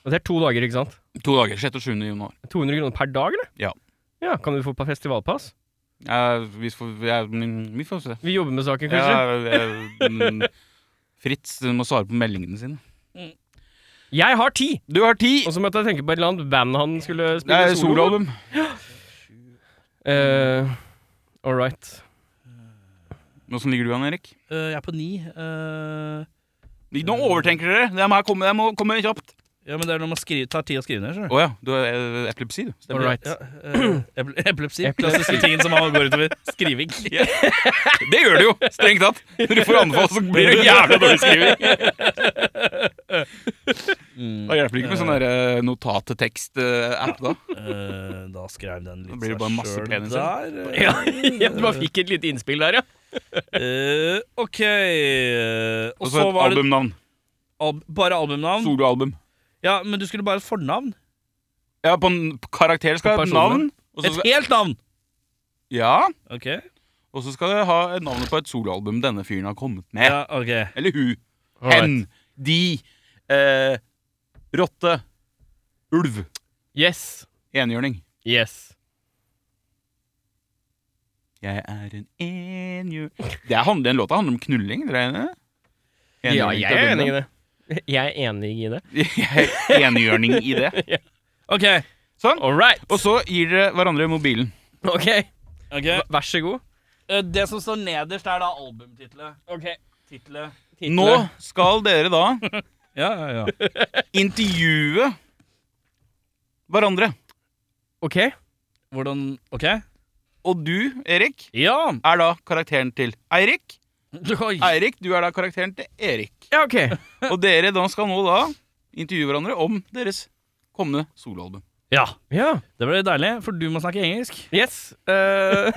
S3: Og det er to dager, ikke sant?
S2: To dager. 6. og 7. januar.
S3: 200 kroner per dag, eller?
S2: Ja.
S3: Ja, Kan du få på festivalpass?
S2: Jeg, vi, får, jeg, vi får se.
S3: Vi jobber med saken, kanskje?
S2: Jeg, jeg, mm, Fritz du må svare på meldingene sine.
S3: Jeg har ti!
S2: Du har ti!
S3: Og så måtte jeg tenke på et eller annet band han skulle
S2: Det
S3: spille
S2: er soloalbum.
S3: Uh, All right.
S2: Åssen ligger du an, Erik?
S1: Eh, jeg er på ni. eh,
S2: Nå overtenker dere! Det må komme, det må komme kjapt.
S1: ja, men det er når man skriver, tar tid å skrive ned. skjønner
S2: Å ja, du har eh, epilepsi, du.
S3: All
S2: Stemmer.
S3: right.
S1: du. Ja, eh, epil- epilepsi.
S3: Epilepsi.
S1: Klassiske tingen som man går
S2: <laughs>
S1: utover. <laughs> Skriving.
S2: Det gjør du jo, strengt tatt. Når du får anfall, så blir du jævla dårlig skriving. Da hjelper det ikke med sånn der eh, notat-til-tekst-app, da.
S1: Eh, da skrev den litt
S2: Da blir det bare
S1: seg
S2: masse
S1: sjøl
S2: peniser.
S1: der.
S3: Ja, <laughs>
S2: <laughs>
S3: ja, du bare fikk et lite innspill der, ja.
S1: Eh, OK. eh,
S2: Og så et
S1: var det
S2: albumnavn.
S1: al bare albumnavn.
S2: Soloalbum.
S1: Ja, Men du skulle bare ha et fornavn.
S2: Ja, på en på karakter skal
S3: På
S2: det ha et
S3: personen.
S2: navn. Og så
S1: Et
S2: skal,
S1: helt navn!
S2: ja,
S1: OK.
S2: og så skal det ha et navn på et soloalbum denne fyren har kommet med.
S1: Ja, ok
S2: Eller hun.
S3: All right.
S2: Hen. De. Eh, rotte. Ulv.
S3: Yes.
S2: Enhjørning.
S3: Yes.
S2: Jeg er en enhjørning Det handler- Den låta handler om knulling, dere er enige?
S3: Ja,
S2: Enhjørning
S3: jeg
S2: til
S3: er
S2: bunnen.
S3: enig i det. Jeg er enig i det.
S2: <laughs> Jeg er enhjørning i det.
S1: Ok,
S2: Sånn.
S3: All right.
S2: Og så gir dere hverandre mobilen.
S3: Ok,
S1: ok
S3: v- vær så god.
S1: Eh, Det som står nederst er da albumtitlet Titlet
S2: Nå skal dere da
S1: Ja, ja, ja
S2: intervjue hverandre.
S3: Ok.
S1: Hvordan, ok
S2: Og du, Erik,
S1: Ja
S3: <laughs>
S2: er da karakteren til Eirik.
S1: Oi.
S2: Eirik, du er da karakteren til Erik.
S3: Ja, ok.
S2: <laughs> Og dere da skal nå da intervjue hverandre om deres kommende soloalbum.
S1: Ja,
S3: Ja.
S1: det ble deilig, for du må snakke engelsk
S3: Yes.
S1: <laughs>
S3: eh,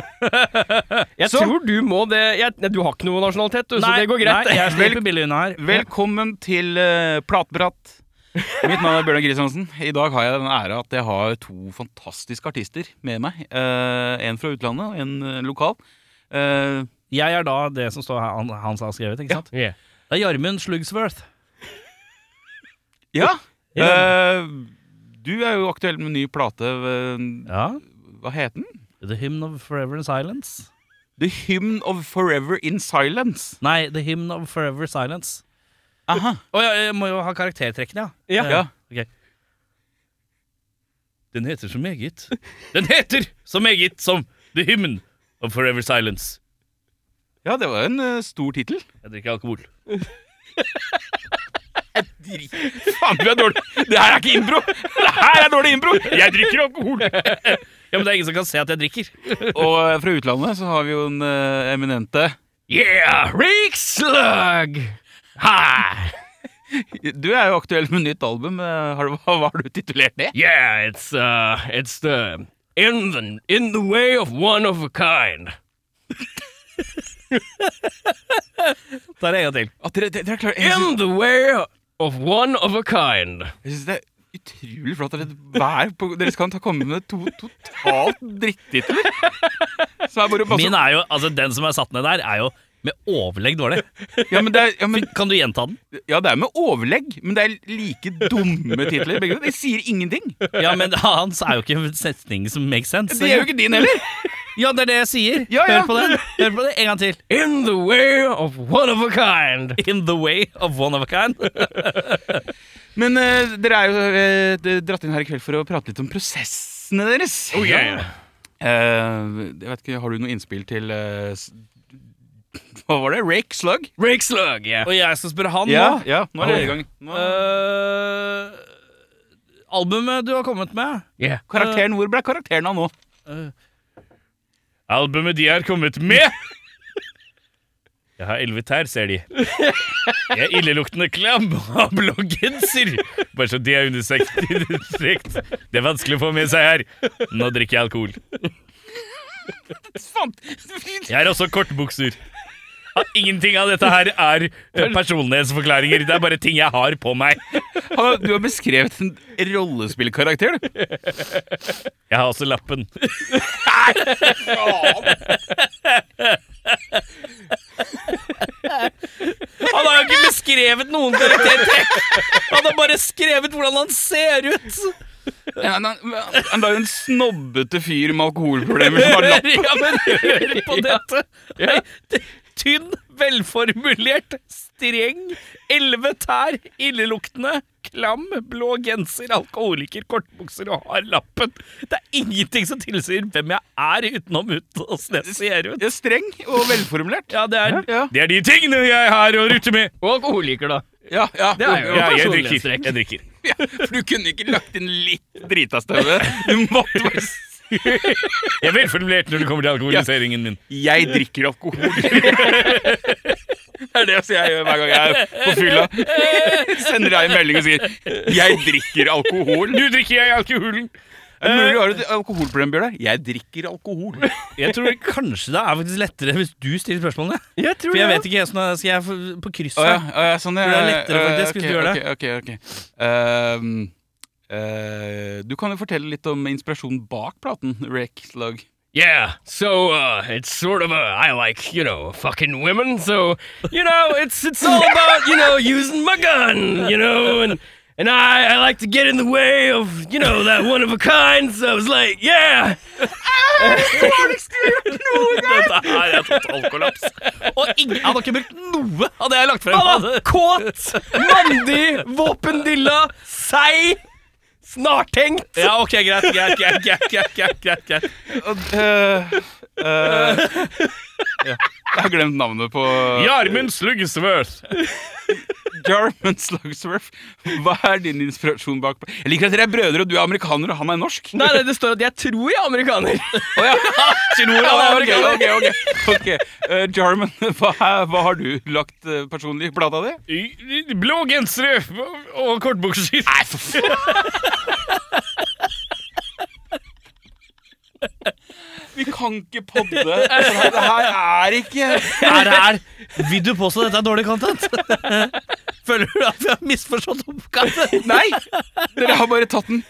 S3: jeg
S2: Så-
S3: tror du må det jeg, nei, Du har ikke noe nasjonalitet, du, så det går greit.
S1: Nei,
S3: det.
S1: jeg slipper billig unna her
S2: Velkommen til uh, Plateprat. Mitt navn er Bjørnar Kristiansen. I dag har jeg den ære at jeg har to fantastiske artister med meg. Eh, en fra utlandet og en eh, lokal. Eh,
S1: Jeg er da det som står her, han, han har skrevet, ikke sant?
S3: Yeah.
S1: Det er Jarmund Slugsworth
S2: ja!
S1: Ja.
S2: Eh, du er jo aktuell med en ny plate. eh,
S1: Ja
S2: Hva het den?
S1: The Hymn of Forever Silence
S2: The Hymn of Forever in Silence.
S1: Nei, The Hymn of Forever Silence
S2: Aha.
S1: Åja, jeg må jo ha karaktertrekkene, ja Eh,
S3: Ja.
S2: Ja.
S1: Den heter så meget. Den heter så meget som The Hymn of Forever Silence.
S2: ja, det var en eh, stor tittel. <laughs>
S1: Jeg drikker <laughs> alkohol.
S2: Faen, du er dårlig. Det her er ikke impro! Det her er dårlig impro! Jeg drikker
S1: <laughs>
S2: alkohol!
S1: Ja, Men det er ingen som kan se at jeg drikker.
S2: Og eh, fra utlandet så har vi jo den eh, eminente
S3: Yeah, Rick Slug! Hi!
S2: Du er jo aktuell med nytt album. eh, Har du, <laughs> hva har du titulert det?
S3: Yeah, it's uh, it's the in the in the way of one of a kind.
S1: Ta det en gang til.
S2: At dere, dere, dere klarer, jeg synes-
S3: In the way of one of a kind.
S2: jeg synes det er utrolig flott at dere, hver, på- dere skal ta komme med to totalt drittitler. Som er bare bare
S1: Min
S2: så-
S1: er jo, altså Den som er satt ned der, er jo med overlegg dårlig.
S2: ja, men det er, ja, men,
S1: Kan du gjenta den?
S2: ja, det er med overlegg, men det er like dumme titler. Begge to. De sier ingenting.
S1: Ja, men <laughs> hans er jo ikke en setning som makes sense.
S2: Det gjør jo ikke din heller.
S1: Ja, det er det jeg sier.
S2: Ja, ja.
S1: Hør på den. Hør på det En gang til.
S3: In the way of one of a kind.
S1: In the way of one of a kind.
S2: Men eh, dere er jo eh, d- dratt inn her i kveld for å prate litt om prosessene deres. Oh, Eh, jeg vet ikke, Har du noe innspill til eh, s- Hva var det? Rake Slug?
S3: Rick Slug, yeah.
S1: Og jeg skal spørre han
S2: Ja,
S1: nå.
S2: ja, nå er det i gang. Nå-
S1: Eh, albumet du har kommet med
S3: Yeah.
S2: Karakteren, Hvor ble karakteren av nå?
S1: Albumet de har kommet med! Jeg har elleve tær, ser de. Jeg er illeluktende klam og har blå genser. Bare så det er understreket. Det er vanskelig å få med seg her. Nå drikker jeg alkohol.
S2: Faen!
S1: Jeg har også kortbukser. Ja, Ingenting av dette her er eh, personlighetsforklaringer. Det er bare ting jeg har på meg.
S2: Han- Du har beskrevet en rollespillkarakter, du.
S1: Jeg har også <laughs> lappen. Han har jo ikke beskrevet noen karaktertrekk! Han har bare skrevet hvordan han ser ut!
S2: Han, han, han var jo en snobbete fyr med alkoholproblemer som har lapp.
S1: <laughs> Ja, men hør <laughs> på dette! Nei, det- Tynn, velformulert, streng, elleve tær, illeluktende, klam, blå genser, alkoholiker, kortbukser og har lappen. Det er ingenting som tilsier hvem jeg er, utenom ut- åssen jeg ser ut.
S2: Ja, streng og velformulert.
S1: Ja, det er,
S2: Ja.
S1: det er de tingene jeg har å rutte med.
S3: Og alkoholiker, da.
S2: Ja, ja.
S3: Det er jo
S1: Ja, jeg drikker.
S3: personlighetstrekk.
S1: Jeg drikker.
S2: Ja, for du kunne ikke lagt inn litt drita støve. Du måtte bare s-
S1: Jeg er velformulert når det kommer til alkoholiseringen min.
S2: <laughs> Jeg drikker alkohol. Det er det altså jeg gjør hver gang jeg er på <laughs> fylla. Sender deg en melding og sier 'Jeg drikker alkohol'.
S1: Nå drikker jeg alkoholen.
S2: Det er mulig du har et alkoholproblem, Bjørnar. Jeg drikker alkohol.
S1: Jeg tror kanskje det er faktisk lettere hvis du stiller spørsmålene.
S3: Jeg tror
S1: For jeg
S3: det.
S1: vet ikke helt sånn Skal jeg få- på kryss <laughs>
S2: <laughs> Å ja,
S1: her?
S2: å ja, sånn ja.
S1: For det er lettere
S2: ja,
S1: faktisk hvis
S2: ok,
S1: du gjør det.
S2: Ok, ok, ok. Ehm, eh, du kan jo fortelle litt om inspirasjonen bak platen, Rake-slag.
S3: Yeah, so uh, it's sort of a I like you know fucking women, so you know it's it's all about you know using my gun, you know, and and I I like to get in the way of you know that one of a kind, so I was like yeah,
S1: Dette her er total kollaps. Og ingen hadde ikke brukt noe av det jeg har lagt frem.
S3: Han var kåt, mandig, våpendilla, seig, snartenkt.
S1: Ja, ok, greit, greit, greit, greit, greit, greit, greit, greit. Eh,
S2: <laughs> Jeg har glemt navnet på
S1: Jarmund Sluggsworth.
S2: Jarman Slugsworth. Hva er din inspirasjon bak pla- Jeg liker at dere er brødre, og du er amerikaner, og han er norsk.
S3: Nei, nei, det står at jeg tror jeg er amerikaner.
S2: Å <laughs> ja.
S1: Sinora,
S2: Ja,
S1: det er
S2: ok,
S1: ikke-
S2: ok, ok. Ok, eh, Jarman, hva, er- hva har du lagt eh, personlig i plata di?
S1: Blå gensere og kortbukser. Nei, for faen!
S2: Vi kan ikke <laughs> podde. Det her er ikke
S1: Her er Vil du påstå dette er dårlig
S3: <laughs>
S1: content? Føler du at vi har misforstått oppgaven?
S2: Nei! Dere har bare tatt den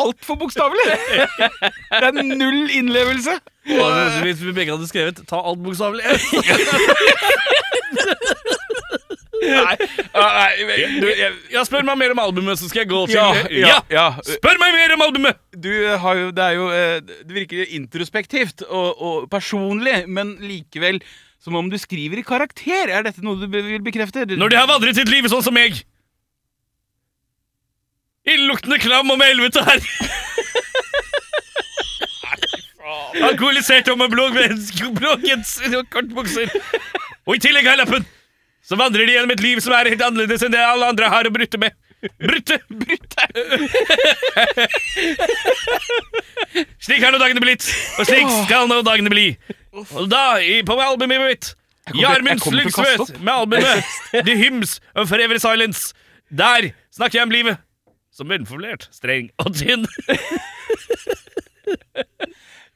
S2: altfor bokstavelig. Det er null innlevelse.
S1: Hvis vi begge hadde skrevet 'ta alt bokstavelig'
S2: Nei, ah, nei du, jeg,
S1: Ja, spør meg mer om albumet, så skal jeg gå til
S2: ja, ja, ja.
S1: Spør meg mer om albumet!
S2: Du har jo Det er jo eh, Det virker introspektivt og, og personlig, men likevel som om du skriver i karakter. Er dette noe du be- vil bekrefte?
S1: Når de har vandret sitt liv sånn som meg. Illeluktende klam og med elleve tær. Alkoholisert og med blå blå genser og kortbukser. Og i tillegg har jeg lappen. Så vandrer de gjennom et liv som er helt annerledes enn det alle andre har å brutte med. Brutte! Brutte! slik har nå dagene blitt, og slik skal nå dagene bli. Og da, i, på albumet mitt,
S2: jeg
S1: Jarmund
S2: kommer til å kaste
S1: Slugsvøt med albumet The Hymns of Forever Silence. Der snakker jeg om livet. Som velformulert, streng og tynn.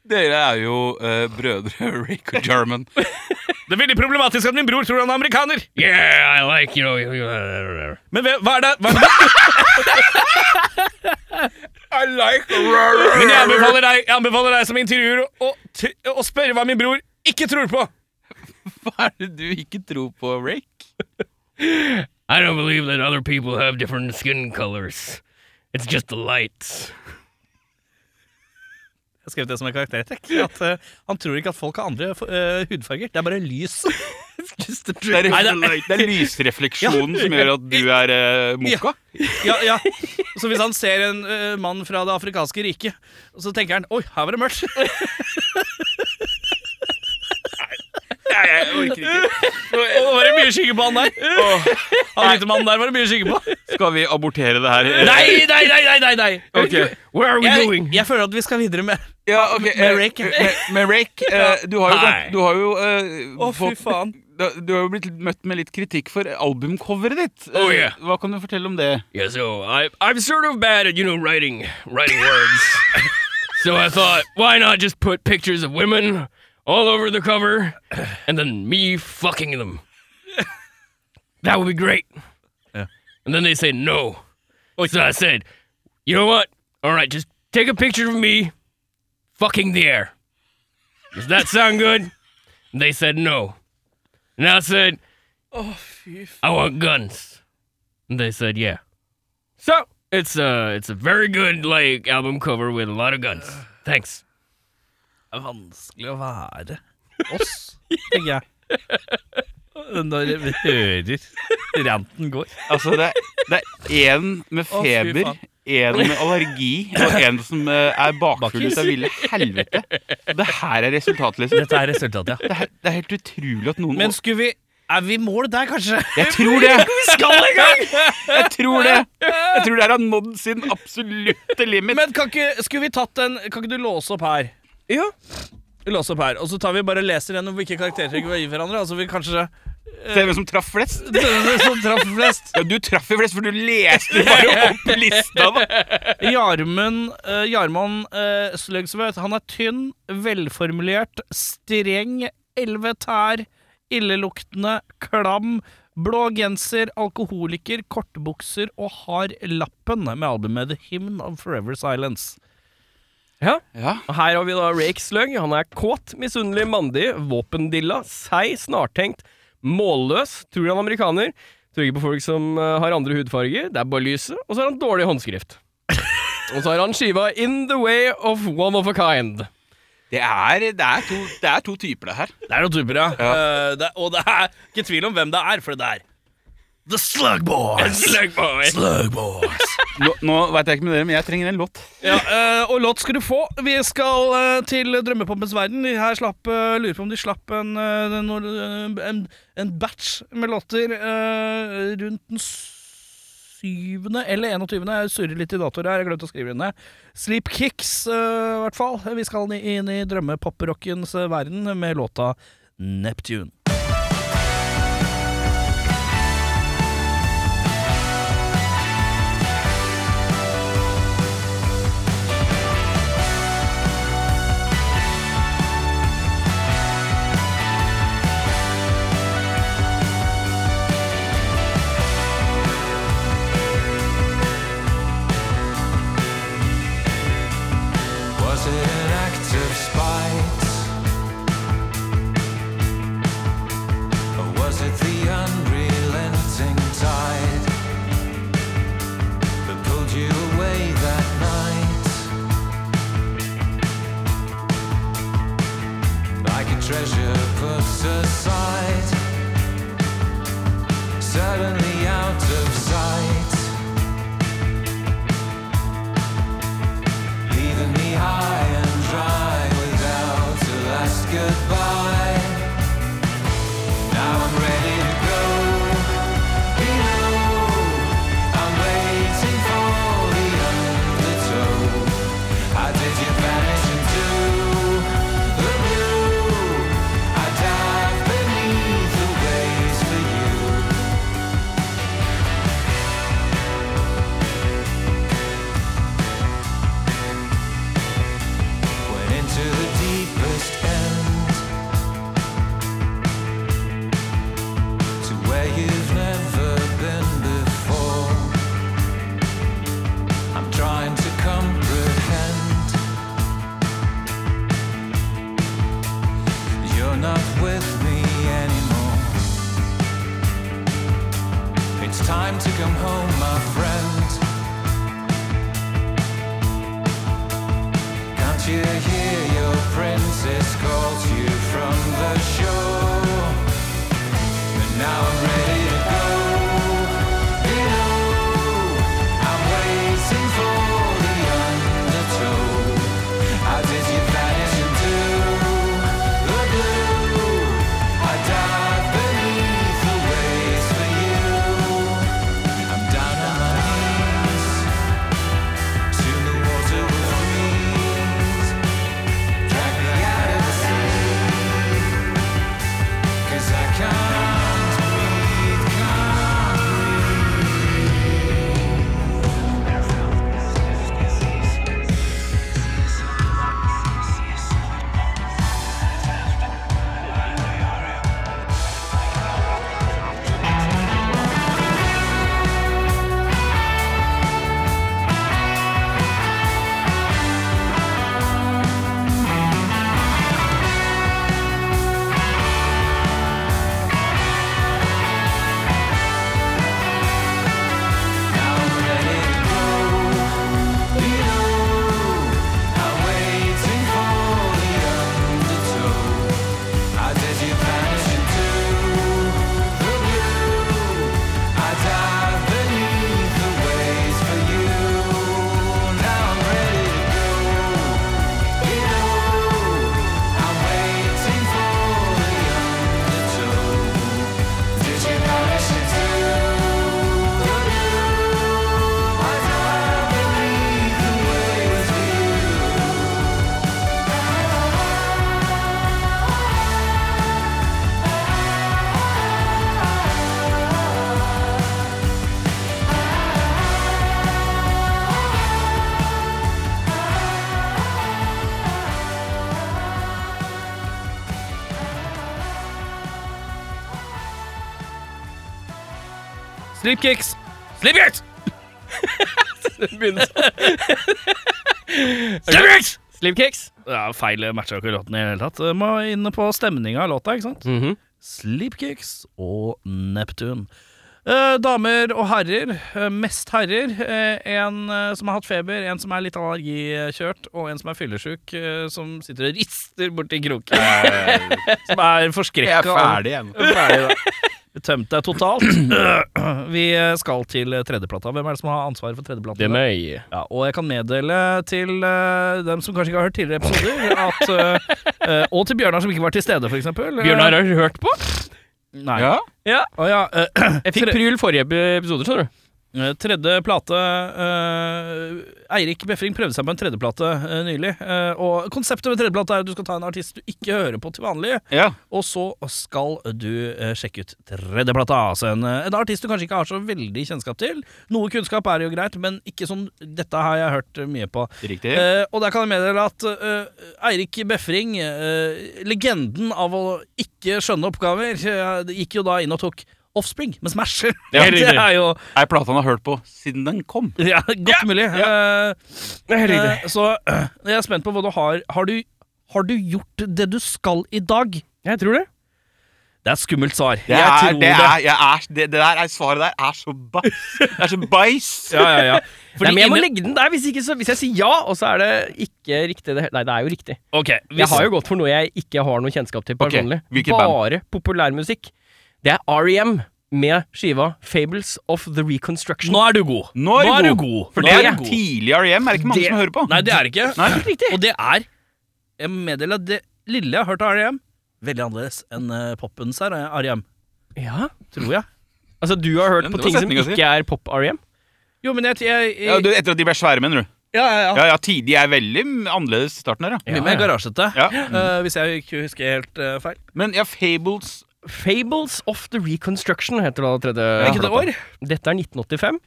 S2: Dere er jo eh, brødre <laughs> Rick og Jarman.
S1: Det er veldig problematisk at min bror tror han er amerikaner.
S3: Yeah, I like you know. you-
S1: Men hva- hva er det, hva er det?
S2: I like
S1: Men jeg anbefaler deg, jeg anbefaler deg som intervjuer å, t- å spørre hva min bror ikke tror på.
S2: Hva er det du ikke tror på, Rick?
S3: I don't believe that other people have different skin colors. It's just the lights.
S1: Jeg skrev det som en karaktertrekk. At eh, Han tror ikke at folk har andre eh, hudfarger. Det er bare
S2: <laughs>
S1: lys.
S2: Det er,
S1: Nei, det-
S2: det er lysrefleksjonen som gjør at du er uh, moka.
S1: Ja, ja. Så hvis han ser en eh, mann fra det afrikanske riket, så tenker han 'oi, her var det mørkt'.
S2: <laughs> Nei, jeg orker ikke.
S1: Nå var det mye skygge på han der. Han hvite mannen der var det mye skygge på.
S2: Skal vi abortere det her?
S1: Nei, nei, nei, nei, nei, nei.
S2: Ok.
S3: Where are we
S1: Jeg,
S3: going?
S1: jeg føler at vi skal videre med
S2: Ja, ok eh,
S1: Med Rick.
S2: Med, med Rick eh, du har jo,
S1: Nei.
S2: du har jo eh,
S1: Å, fy
S2: fått-
S1: faen.
S2: da- Du har jo blitt møtt med litt kritikk for albumcoveret ditt.
S3: Oh,
S2: Eh,
S3: yeah.
S2: Hva kan du fortelle om det?
S3: Yeah, so I, I'm sort of bad at, you know, writing writing words. so I thought, why not just put pictures of women all over the cover and then me fucking them? That would be great.
S1: Yeah.
S3: And then they said no. So I said, you know what? All right, just take a picture of me fucking the air. Does that sound good? And they said no. And I said, I want guns. And they said, yeah. So it's a it's a very good like album cover with a lot of guns. Thanks.
S1: Det er vanskelig å være oss, tenker jeg. Når vi hører ranten går.
S2: Altså, det er, det er en med
S1: Å, fy
S2: feber,
S1: faen.
S2: en med allergi og en som eh, er bakfull ut av ville helvete. Det her er resultatet, liksom.
S1: Dette er resultatet, ja.
S2: Det, er- det er helt utrolig at noen
S1: Men skulle vi Er vi i mål der, kanskje? <laughs>
S2: Jeg tror det!
S1: Skal en gang!
S2: Jeg tror det Jeg tror det her har nådd sin absolutte limit.
S1: Men kan ikke, skulle vi tatt en Kan ikke du låse opp her?
S2: Ja.
S1: Låse opp her, og så tar vi bare og leser gjennom hvilke karaktertrekk vi har gitt hverandre. Altså vi kanskje
S2: Se hvem som traff flest.
S1: Som traff flest.
S2: Ja, du traff jo flest, for du leste bare opp lista, da.
S1: Jarmund uh, Jarman eh, Sløgsvedt. Han er tynn, velformulert, streng, elleve tær, illeluktende, klam, blå genser, alkoholiker, kortbukser og har lappen med albumet The Hymn of Forever Silence.
S2: Ja.
S5: Og Her har vi da Rake Slug. Han er kåt, misunnelig, mandig, våpendilla, seig, snartenkt, målløs. Tror han er amerikaner. Tror ikke på folk som eh, har andre hudfarger. Det er bare lyset. Og så har han dårlig
S3: <laughs>
S5: håndskrift. Og så har han skiva In the Way of One of a Kind.
S2: Det er, det er, to, det er to typer, det her.
S1: Det er noen typer, ja. Eh, det, og det er ikke tvil om hvem det er, for det er The Slug Boys. <laughs> Slug Boys.
S2: Nå, nå veit jeg ikke med dere, men jeg trenger en låt.
S1: Ja, eh, og låt skal du få. Vi skal eh, til drømmepompens verden. De her slapp, eh, Lurer på om de slapp en, eh, den- når- en, en batch med låter eh, rundt den syvende eller 21. Jeg surrer litt i datoer her, jeg glemte å skrive inn det. Sleep Kicks, eh, i hvert fall. Vi skal inn i drømmepopperockens verden med låta Neptune.
S6: Was it an act of spite? Or was it the unrelenting tide that pulled you away that night? Like a treasure put aside, suddenly out of sight. Leaving me high and dry without a last goodbye. Now I'm ready to go. Below, I'm waiting for the undertow. How did you vanish into the blue? I dive beneath the waves for you. went into the deepest end to where you've never been before. I'm trying to comprehend. You're not with me anymore. It's time to come home, my friend. Can't you hear your princess calls you from the shore? But now I'm ready to go. Below, I'm waiting for the undertow. How did you vanish into the blue? I
S5: Slipkicks.
S1: <laughs> Slipkicks!
S3: Begynner sånn.
S1: Slipkicks!
S3: Slipkicks.
S5: Ja, feil matcha ikke låten i det hele tatt. Må inn på stemninga av låta, ikke sant?
S3: Mhm,
S5: Sleepkicks og Neptun. Eh, damer og herrer, eh, mest herrer. eh, en eh, som har hatt feber, en som er litt allergikjørt, og en som er fyllesyk, eh, som sitter og rister borti kroken. som er forskrekka.
S2: igjen.
S5: Tømt deg totalt. <clears throat> Vi eh, skal til tredjeplata. Hvem er det som har ansvaret for tredjeplata?
S3: Det er meg.
S5: Ja, og jeg kan meddele til eh, dem som kanskje ikke har hørt tidligere episoder, at, eh, eh, og til Bjørnar som ikke var til stede, eh, f.eks.
S3: Bjørnar har hørt på.
S5: Nei.
S2: Ja.
S5: Å ja, eh,
S3: Jeg fikk
S5: Tre-
S3: pryl forrige ep- episode, skjønner du.
S5: Eh, Tredje plate eh, Eirik Befring prøvde seg på en tredjeplate eh, nylig. eh, og konseptet med tredjeplate er at du skal ta en artist du ikke hører på til vanlig,
S2: ja.
S5: og så skal du eh, sjekke ut tredjeplata. Altså en, eh, en artist du kanskje ikke har så veldig kjennskap til. Noe kunnskap er jo greit, men ikke sånn 'dette har jeg hørt eh, mye på'.
S2: Riktig.
S5: Eh, og der kan jeg meddele at eh, Eirik Befring, eh, legenden av å ikke skjønne oppgaver, eh, gikk jo da inn og tok Offspring med Smash.
S2: Ja,
S5: <laughs> det
S2: riktig.
S5: er jo
S2: Er plata han har hørt på siden den kom?
S5: ja, godt mulig. Eh, eh, så eh, jeg er spent på hva du har. Har du, har du gjort det du skal i dag?
S3: Jeg tror det.
S5: Det er et skummelt svar.
S2: Det,
S5: jeg
S2: er,
S5: tror
S2: det, er, jeg er, det, det der er svaret der er så bæsj. Det er så bæsj.
S5: Ja, ja, ja. Fordi
S3: Nei, men jeg må
S5: inni-
S3: legge den der. Hvis, ikke, så, hvis jeg sier ja, og så er det ikke riktig det he- Nei, det er jo riktig.
S5: Ok,
S3: Jeg
S5: hvis,
S3: har jo gått for noe jeg ikke har noe kjennskap til
S2: Ok,
S3: personlig.
S2: hvilket band?
S3: Bare populærmusikk. Det er REM med skiva Fables of the Reconstruction.
S5: Nå er du god.
S2: Nå er du god. For
S5: Nå
S2: det er
S5: er du god.
S2: tidlig REM. Er det ikke mange
S3: Det-
S2: som hører på?
S5: Nei, det er det ikke.
S2: Nei.
S3: Riktig.
S5: Og det er Jeg må meddele at det lille jeg har hørt av R.E.M., veldig annerledes enn eh, poppens her, eh, R.E.M.,
S3: Ja.
S5: tror jeg.
S3: Altså, du har hørt
S2: Men
S3: på
S2: det var
S3: ting som
S2: setninga si.
S3: ikke er E pop-REM?
S5: Jo, men jeg, jeg, jeg
S2: Ja, du, etter at de ble svære, mener du?
S5: ja, ja, ja.
S2: Ja, ja, tidlig er veldig annerledes i starten her, ja.
S5: Mye mer garasjete,
S2: Ja.
S5: eh, hvis jeg ikke husker helt eh, feil.
S2: Men ja, Fables
S3: Fables of the Reconstruction heter da tredje
S5: Er ikke det
S3: plata.
S5: år?
S3: Dette er 1985.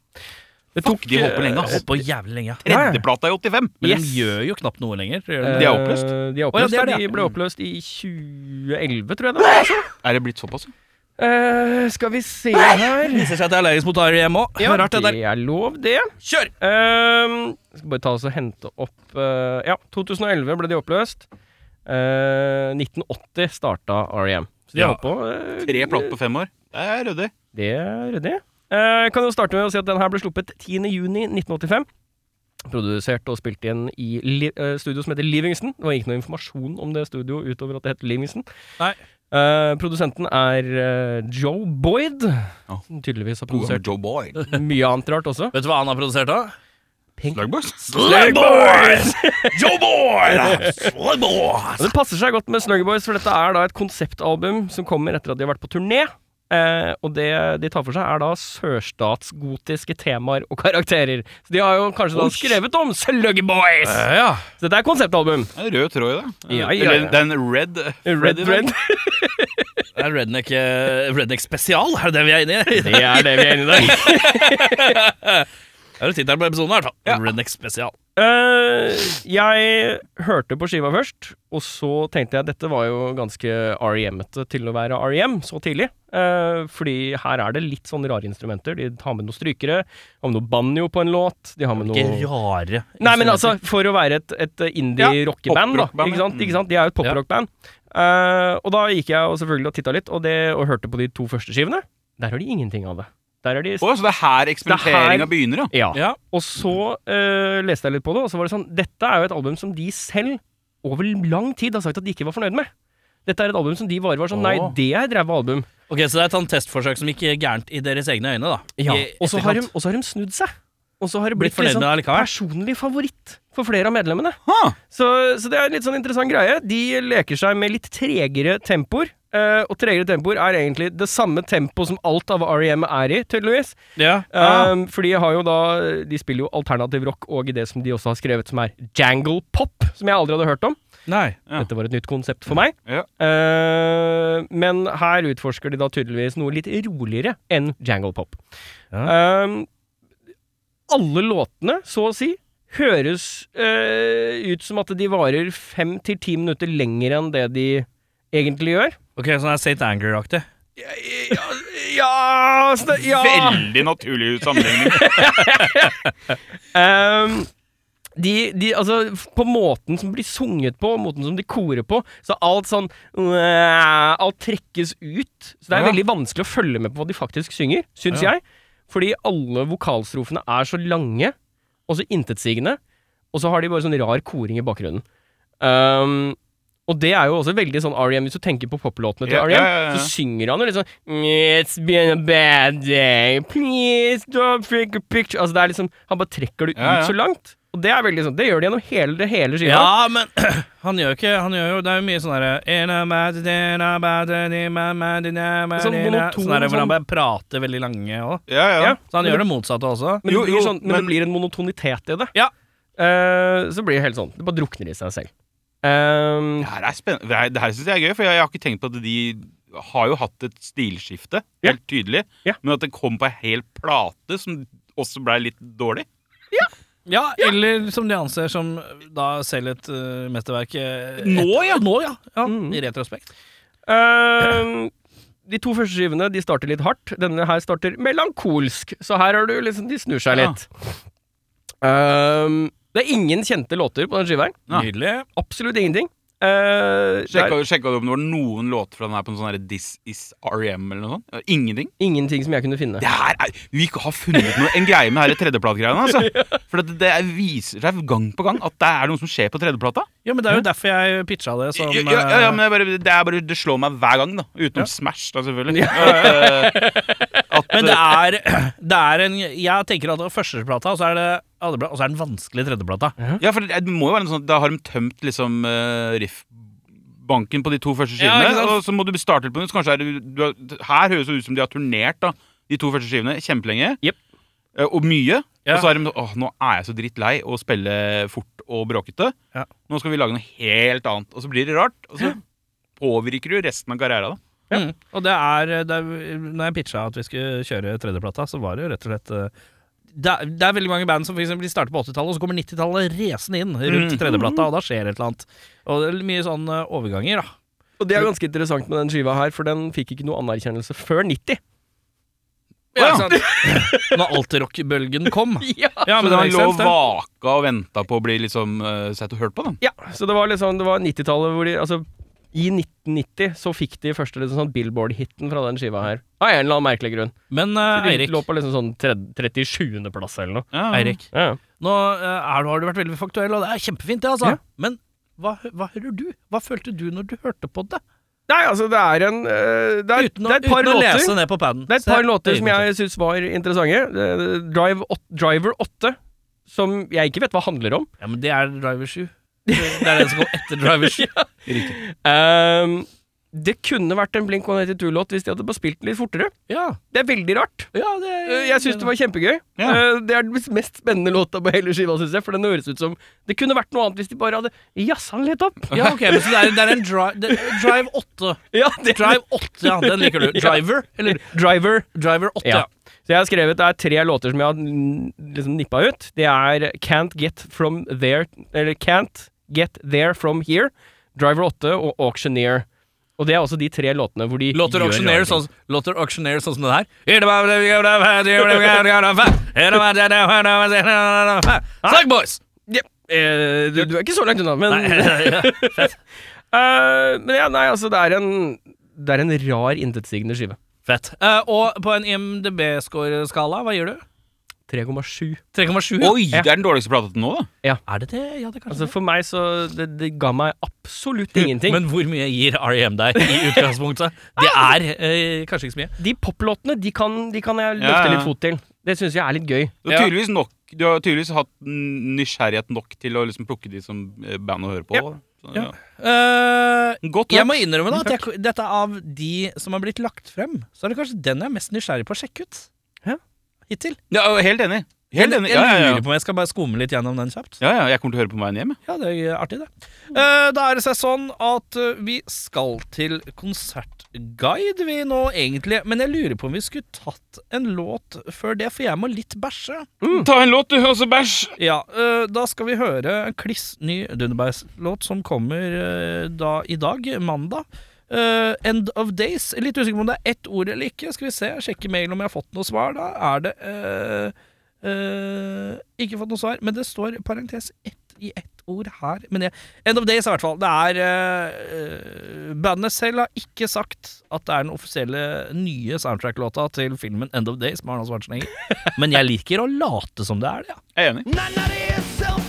S3: Det tok eh,
S2: de holdt på lenge, ass.
S5: Holdt på jævlig lenge. ja.
S2: Tredjeplata i 85.
S5: Men
S3: Yes.
S5: de gjør jo knapt noe lenger. Gjør de?
S3: eh,
S2: De er oppløst?
S3: De, er
S5: Å, ja,
S3: oppløst,
S5: det er
S3: og
S5: det,
S3: de
S5: ja.
S3: ble oppløst i 2011, tror jeg. det var, altså.
S2: Er det blitt såpass?
S3: Eh, skal vi se her
S5: Det viser seg at jeg er allergisk mot Ari hjemme òg. Rart det der.
S3: er lov, det.
S5: Kjør!
S3: Ehm, skal bare ta oss og hente opp eh, Ja, 2011 ble de oppløst. Eh, 1980 starta REM. E Så de
S5: Ja.
S3: har holdt på eh,
S2: Tre plater på fem år. Det er ryddig.
S3: Det er ryddig. Eh, kan jo starte med å si at den her ble sluppet 10.6.1985. Produsert og spilt igjen i li eh, studio som heter Livingston. Det var ikke noe informasjon om det studio utover at det het Livingston.
S5: Nei.
S3: Eh, produsenten er eh, Joe Boyd,
S2: Ja.
S3: som tydeligvis har
S2: God gammel
S3: produsert
S2: Joe Boyd.
S3: mye annet rart også.
S5: Vet du hva han har produsert, da?
S2: Slugboys.
S5: Slugboys! Joe Boy! Slugboys!
S3: Og det passer seg godt med Snuggy Boys, for dette er da et konseptalbum som kommer etter at de har vært på turné. Eh, og det de tar for seg, er da sørstatsgotiske temaer og karakterer. Så de har jo kanskje da skrevet om Sluggy Boys!
S5: ja.
S3: Så dette er konseptalbum.
S2: Det er Rød tråd i det.
S3: Ja, ja, ja.
S2: Eller Den red
S3: Red Red.
S5: Det er redneck, eh, redneck spesial, er det det vi er inne i?
S3: <laughs> Det er det vi er inne i dag.
S5: Det er jo tittelen på episoden, i hvert fall. Redneck spesial.
S3: Eh, jeg hørte på skiva først, og så tenkte jeg at dette var jo ganske REM-ete til å være REM så tidlig. Eh, fordi her er det litt sånn rare instrumenter. De tar med noen strykere, har med noe banjo på en låt. De har med
S5: Ikke
S3: noe
S5: rare
S3: Nei, men altså, for å være et, et indie-rockeband, da.
S2: poprockband,
S3: Ikke sant?
S2: ja.
S3: Ikke sant? De er jo et poprockband. Eh, og da gikk jeg og selvfølgelig og titta litt, og, det, og hørte på de to første skivene. Der har de ingenting av det. Der er de
S2: Å, så det
S3: Det
S2: er her
S3: er her-
S2: eksperimenteringa begynner, ja.
S3: Ja.
S5: Ja.
S3: Og så eh, leste jeg litt på det, og så var det sånn Dette er jo et album som de selv over lang tid har sagt at de ikke var fornøyd med. Dette er et album som de bare var sånn Nei,
S2: Åh.
S3: det er ræva album.
S5: Ok, Så det er et sånn testforsøk som gikk gærent i deres egne øyne, da?
S3: Ja.
S5: I
S3: Og så har, de-
S5: etterkant.
S3: og så har de snudd seg. Og så har det
S5: Blitt
S3: blitt,
S5: fornøyd
S3: litt
S5: med
S3: sånn
S5: det allikevel?
S3: personlig favoritt for flere av medlemmene.
S2: Ha!
S3: Så, så det er en litt sånn interessant greie. De leker seg med litt tregere tempoer. eh, og tregere tempoer er egentlig det samme tempo som alt av REM er i, tydeligvis.
S5: Ja. Ah.
S3: Um, for de har jo da De spiller jo alternativ rock og i det som de også har skrevet, som er jangle pop, som jeg aldri hadde hørt om.
S5: Nei.
S2: Ja.
S3: Dette var et nytt konsept for meg.
S2: Ja.
S3: Eh, men her utforsker de da tydeligvis noe litt roligere enn jangle pop. Um, alle låtene, så å si, høres eh, ut som at de varer fem til ti minutter lenger enn det de egentlig gjør.
S5: Ok, Sånn er St. Anger-aktig?
S2: Ja,
S3: Ja! sn- ja.
S2: Veldig naturlig sammenligning.
S3: <laughs> Ehm, de, de, altså, f- på måten som blir sunget på, måten som de korer på, så alt sånn øh, Alt trekkes ut. Så det er
S2: Ja.
S3: veldig vanskelig å følge med på hva de faktisk synger, syns jeg. Fordi alle vokalstrofene er så lange og så intetsigende, og så har de bare sånn rar koring i bakgrunnen. Ehm, og det er jo også veldig sånn R.E.M. Hvis du tenker på poplåtene til
S2: Ja,
S3: R.E.M.,
S2: ja, ja, ja.
S3: så synger han jo litt sånn It's been a bad day, please don't take a picture Altså det er liksom, Han bare trekker det
S2: Ja, ja.
S3: ut så langt. Og det er veldig sånn, det gjør det gjennom hele, det hele skiva.
S5: Ja, men han gjør ikke Han gjør jo Det er jo mye sånn derre Sånn
S3: Sånn monoton,
S5: Sånn derre hvor
S3: sånn-
S5: han bare prater veldig lange òg.
S2: Ja, ja.
S3: Ja.
S5: Så han gjør det motsatte også.
S3: Men,
S2: Jo,
S3: det, blir
S2: jo,
S3: sånn, men,
S2: men-
S3: det blir en monotonitet i det.
S5: Ja.
S3: Eh, så blir det helt sånn. Det bare drukner i seg selv. Eh,
S2: Det her er spennende. Det her, det her syns jeg er gøy, for jeg, jeg har ikke tenkt på at de har jo hatt et stilskifte,
S3: Ja.
S2: helt tydelig,
S3: Ja.
S2: men at det kom på ei hel plate som også blei litt dårlig.
S5: Ja, eller som de anser som da selv et uh, mesterverk eh,
S2: Nå,
S5: et-
S2: ja.
S5: Nå, ja. ja
S3: Mm.
S5: I retrospekt.
S3: eh, de to første skivene de starter litt hardt. Denne her starter melankolsk, så her har du liksom De snur seg
S2: Ja.
S3: litt. Eh, det er ingen kjente låter på den skiva her.
S2: Ja.
S5: Nydelig.
S3: Absolutt ingenting. Eh, det er
S2: Sjekka, sjekka du om det var noen låter fra den her på en sånn her This Is R.E.M. eller noe sånt? Ingenting.
S3: ingenting som jeg kunne finne.
S2: Det her er, vi ikke har funnet noe, en greie med denne tredjeplatgreiene.
S5: <laughs>
S2: Altså. For det, det viser seg gang på gang at det er noe som skjer på tredjeplata.
S5: Ja, men det er jo derfor jeg pitcha det som
S2: ja, ja, ja,
S5: eh,
S2: men jeg bare, det, er bare, det slår meg hver gang, da. Utenom Smash, da, selvfølgelig. At,
S5: <laughs> Men det er, det er en Jeg tenker at det er førsteplata, og så er det andreplata, og så er den vanskelige tredjeplata.
S2: Ja, for det, det må jo være en sånn at Da har de tømt liksom eh, riffbanken på de to første
S5: Ja,
S2: skivene.
S5: ikke sant?
S2: og så må du starte på nytt. så Kanskje er det, du, har- her høres det ut som de har turnert da de to første skivene kjempelenge.
S3: Jep.
S2: Eh, og mye.
S5: Ja.
S2: Og så er de sånn Åh, nå er jeg så drittlei å spille fort og bråkete.
S5: Ja.
S2: Nå skal vi lage noe helt annet. Og så blir det rart. Og så påvirker du resten av karrieren. da
S5: Mm. Og det er, det er Når jeg pitcha at vi skulle kjøre tredjeplata, så var det jo rett og slett eh, det er, det er veldig mange band som for eksempel, de starter på 80-tallet, og så kommer 90-tallet resende inn rundt
S2: Mm.
S5: tredjeplata, og da skjer et eller annet. Og det er mye sånn eh, overganger, da.
S3: Og det er ganske interessant med den skiva her, for den fikk ikke noe anerkjennelse før 90.
S2: Ja,
S5: Når alt-rock-bølgen kom.
S3: <laughs> Ja.
S5: Ja,
S2: Så
S5: det
S2: den
S5: makes
S2: lå
S5: sense, det.
S2: vaka og venta på å bli liksom eh, sett og hørt på, da.
S3: så det var liksom Det var 90-tallet hvor de Altså, i 1990 så fikk de første liksom sånn Billboard-hiten fra den skiva her. Av en eller annen merkelig grunn.
S5: Men eh,
S3: De
S5: Eirik,
S3: lå på liksom sånn tred- 37. plass eller noe.
S2: Ja.
S5: Eirik
S3: Ja.
S5: nå eh, er, du- har du vært veldig faktuell, og det er kjempefint, det, altså.
S3: Ja.
S5: Men hva, hø- hva hører du? Hva følte du når du hørte på det?
S3: Nei, altså, det er en øh, det, er,
S5: Uten å,
S3: det er et par
S5: uten å
S3: låter.
S5: lese ned på paden.
S3: Det er et par låter som jeg syns var interessante. Eh, Drive åt, Driver 8, som jeg ikke vet hva handler om.
S5: Ja, men det er Driver 7. Det er den som kom etter Driver 7.
S3: Ehm, det kunne vært en Blink 182-låt hvis de hadde bare spilt den litt fortere.
S5: <laughs> Ja,
S3: Det er veldig rart.
S5: ja det
S3: Eh, Jeg syns det var kjempegøy.
S2: Ja.
S3: Eh, Det er den mest spennende låta på hele skiva, syns jeg. For den høres ut som Det kunne vært noe annet hvis de bare hadde jazza den litt opp.
S5: Ja, ok, men så det er, det er en dri det, Drive 8.
S3: Ja, det
S5: Drive 8, ja, den
S3: <laughs>
S5: liker du. Driver, eller
S3: Driver.
S5: Driver 8, ja.
S3: Ja. Så jeg har skrevet det er tre låter som jeg har mm, liksom nippa ut. Det er Can't Get From There Eller Can't Get There From Here, Driver 8 og Auctioneer. Og det er også de tre låtene hvor de
S5: Låter
S3: gjør
S5: auksjonerer
S3: rare ting.
S5: sånn, låter auksjonerer sånn som den her. Slugboys!
S3: Ja,
S5: sånn.
S3: eh, du, du er ikke så langt unna, men <laughs>
S5: <laughs>
S3: Eh, Men ja, nei, altså, det er en Det er en rar, intetsigende skive.
S5: <laughs> Fett. Eh, og på en IMDb-score-skala, hva gir du?
S3: 3,7.
S5: 3,7?
S2: Oi, det er den dårligste plata til nå, da.
S5: Er det det? Ja, det er kanskje
S3: Altså For meg så Det, det ga meg absolutt ingenting.
S5: Men Altså, hvor mye gir R.E.M. deg i utgangspunktet? Det er eh, kanskje ikke så mye.
S3: de poplåtene de kan, de kan jeg løfte
S2: Ja, ja.
S3: litt fot til. Det syns jeg er litt gøy.
S2: Du har, tydeligvis nok, du har tydeligvis hatt n- nysgjerrighet nok til å liksom plukke de som eh, band å høre på. Så, ja.
S5: Eh,
S2: Godt
S5: jeg
S2: hørt.
S5: må innrømme da at jeg, dette er av de som har blitt lagt frem, så er det kanskje den jeg er mest nysgjerrig på å sjekke ut.
S3: Ja.
S5: Hittil.
S2: Ja, og helt enig. Helt
S5: jeg,
S2: enig.
S5: jeg
S2: Ja, ja,
S5: lurer
S2: ja.
S5: på om jeg skal bare skumme litt gjennom den kjapt.
S2: ja, ja. Jeg kommer til å høre på meg hjem. jeg.
S5: Ja, det er artig, det. Eh, da er det seg sånn at eh, vi skal til konsertguide, vi nå, egentlig. Men jeg lurer på om vi skulle tatt en låt før det, for jeg må litt bæsje.
S2: Mm, Ta en låt, du, og så bæsj.
S5: Ja, eh, da skal vi høre en kliss ny Dunderbergs-låt som kommer eh, da i dag, mandag.
S7: Eh, end of days. Litt usikker på om det er ett ord eller ikke. Skal vi se, jeg sjekker mailen om jeg har fått noe svar. Da er det eh, eh, Ikke fått noe svar, men det står parentes ett i ett ord her. Men jeg, end of days, i hvert fall. Det er eh, eh, Bandet selv har ikke sagt at det er den offisielle eh, nye soundtrack-låta til filmen End of Days med Arnold Schwarzenegger. Men jeg liker å late som det er det, ja.
S2: Jeg er enig.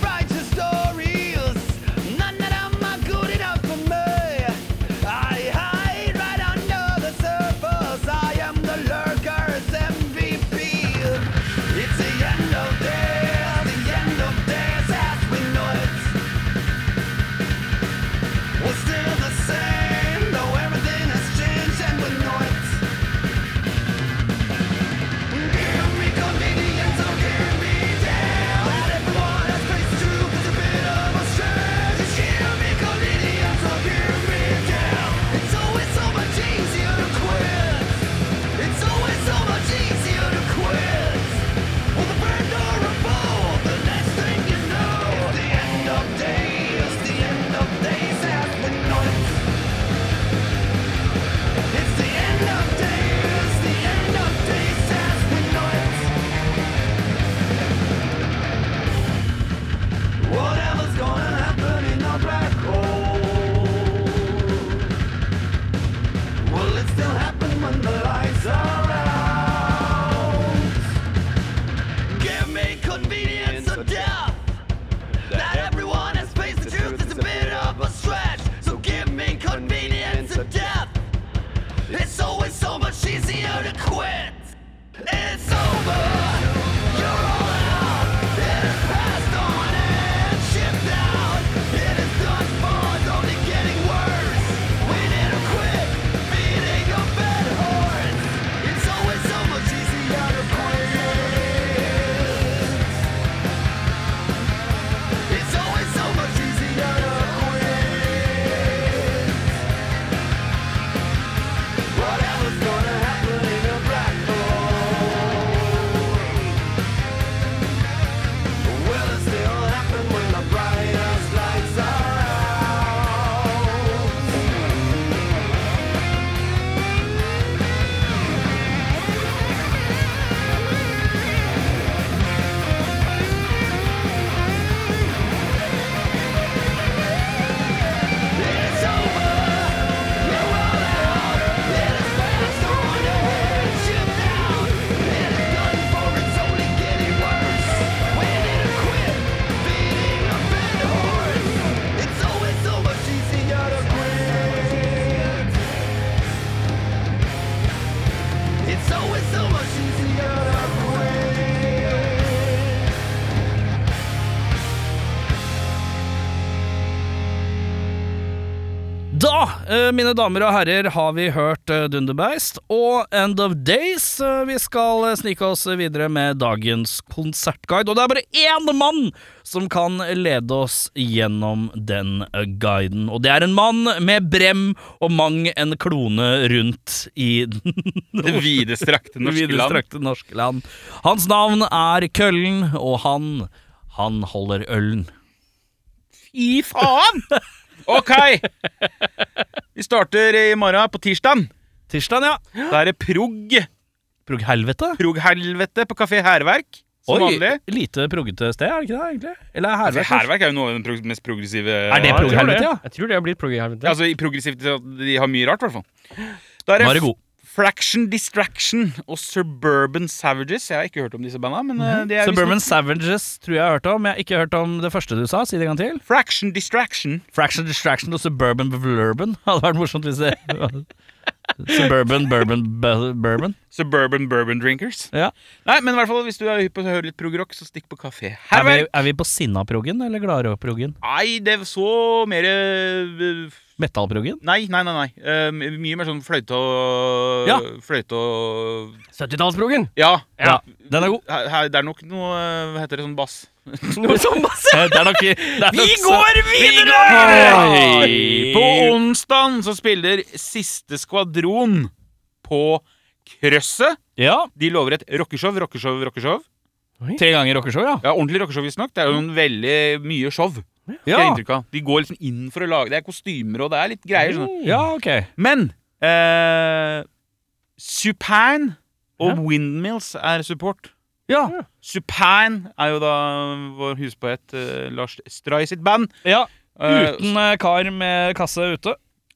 S7: Da, eh, mine damer og herrer, har vi hørt eh, Dunderbeist og End of Days. Eh, Vi skal eh, snike oss videre med dagens konsertguide. Og det er bare én mann som kan lede oss gjennom den eh, guiden. Og det er en mann med brem og mang en klone rundt i
S2: <laughs> Det videstrakte norske land.
S7: videstrakte norske land. Hans navn er Køllen, og han, han holder ølen.
S2: Fy faen! <laughs> Ok! Vi starter i morgen, på tirsdag.
S7: Tirsdag, ja.
S2: Da er det prog.
S7: Prog-helvete.
S2: Prog-helvete på Kafé Hærverk. Som
S7: Oi,
S2: vanlig.
S7: lite proggete sted, er det ikke det, egentlig? Eller er
S2: Kafé
S7: herverk? kanskje?
S2: Hærverk er jo noe av den prog- mest progressive
S7: Er det
S3: jeg tror
S7: prog-helvete,
S3: det.
S7: ja?
S3: Jeg tror det har blitt prog-helvete.
S2: Altså i progressivt at De har mye rart, i hvert fall. Da er
S7: Nå er det
S2: det
S7: god.
S2: Fraction Distraction og Suburban Savages. Jeg har ikke hørt om disse banda. Men eh, det er visst
S7: Suburban
S2: noe-
S7: Savages tror jeg jeg har hørt om. Jeg har ikke hørt om det første du sa. Si det en gang til.
S2: Fraction Distraction.
S7: Fraction Distraction og Suburban Blurban. <laughs> Hadde vært morsomt hvis det <laughs> Suburban Bourbon bu- Bourbon.
S2: Suburban Bourbon Drinkers.
S7: Ja.
S2: Nei, men i hvert fall hvis du er hypp på å høre litt progrock, så stikk på kafé.
S7: Er vi,
S2: Herberg!
S7: er vi på sinnaproggen eller gladrockproggen?
S2: Nei, det er så mer eh,
S7: Metallproggen?
S2: Nei, nei, nei. nei. Eh, mye mer sånn fløyte og
S7: Ja.
S2: Fløyte og
S3: 70-tallsprogen!
S2: Ja.
S7: Ja. Den er god.
S2: Her, her, det er nok noe eh, Hva heter det? Sånn bass.
S3: <laughs> Noe sånn masse!
S7: Det er nok, det er nok
S3: Vi
S7: så-
S3: går videre!
S2: Hei! På onsdagen så spiller Siste Skvadron på Krøsset.
S7: Ja.
S2: De lover et rockeshow, rockeshow, rockeshow.
S7: Tre ganger rockeshow, ja.
S2: Ja, Ordentlig rockeshow, visstnok. Det er jo en veldig mye show. fikk jeg
S3: Ja.
S2: inntrykk av. De går liksom inn for å lage Det er kostymer og det er litt greier. Sånn.
S3: Ja, ok.
S2: Men eh, Supine og Windmills er support.
S3: Ja.
S2: Supine er jo da vår huspoet eh, Lars Stray sitt band.
S3: Ja,
S2: Eh,
S3: Uten eh, kar med kasse ute.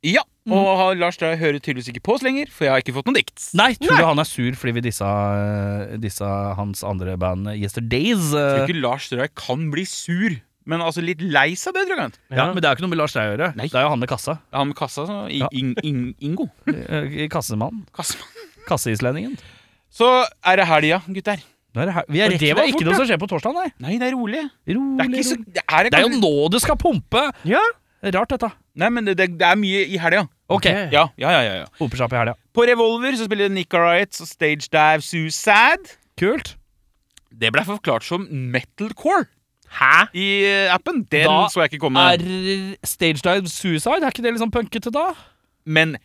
S2: Ja,
S3: Mhm.
S2: og har- Lars Stray hører tydeligvis ikke på oss lenger, for jeg har ikke fått noen dikt.
S3: Nei, tror du han er sur fordi vi dissa, eh, dissa hans andre band eh, Yesterdays?
S2: Jeg tror
S3: eh.
S2: ikke Lars Stray kan bli sur, men altså litt lei seg det, tror jeg.
S3: Ja, Men det er jo ikke noe med Lars Stray å gjøre.
S2: Nei.
S3: Det er jo han med kassa.
S2: Han med kassa, så, i,
S3: Ja.
S2: ing, ing, Ingo.
S3: Eh, Kassemannen.
S2: Kassemann.
S3: Kasseislendingen.
S2: Så er det helga, gutter.
S3: Nå er det her- Vi er
S5: det
S3: rett, det,
S5: var
S3: er ikke
S5: fort,
S3: noe
S5: ja.
S3: som skjer på torsdag, nei.
S2: Nei, det er rolig.
S3: Rolig,
S2: Det er, ikke så,
S3: rolig.
S2: det er,
S3: det er jo nå du skal pumpe!
S5: Ja.
S3: Rart, dette.
S2: Nei, men det, det, det er mye i helga.
S3: Ok,
S2: Ja, ja, ja, ja, ja.
S3: Hoper seg opp i helga.
S2: På Revolver så spiller Nick Rights og Stage Dive Suicide.
S3: Kult.
S2: Det ble forklart som metalcore
S5: Hæ?
S2: i eh, appen. Den
S3: Da
S2: så jeg ikke komme.
S3: Er Stage Dive Suicide, er ikke det liksom punkete da?
S2: Men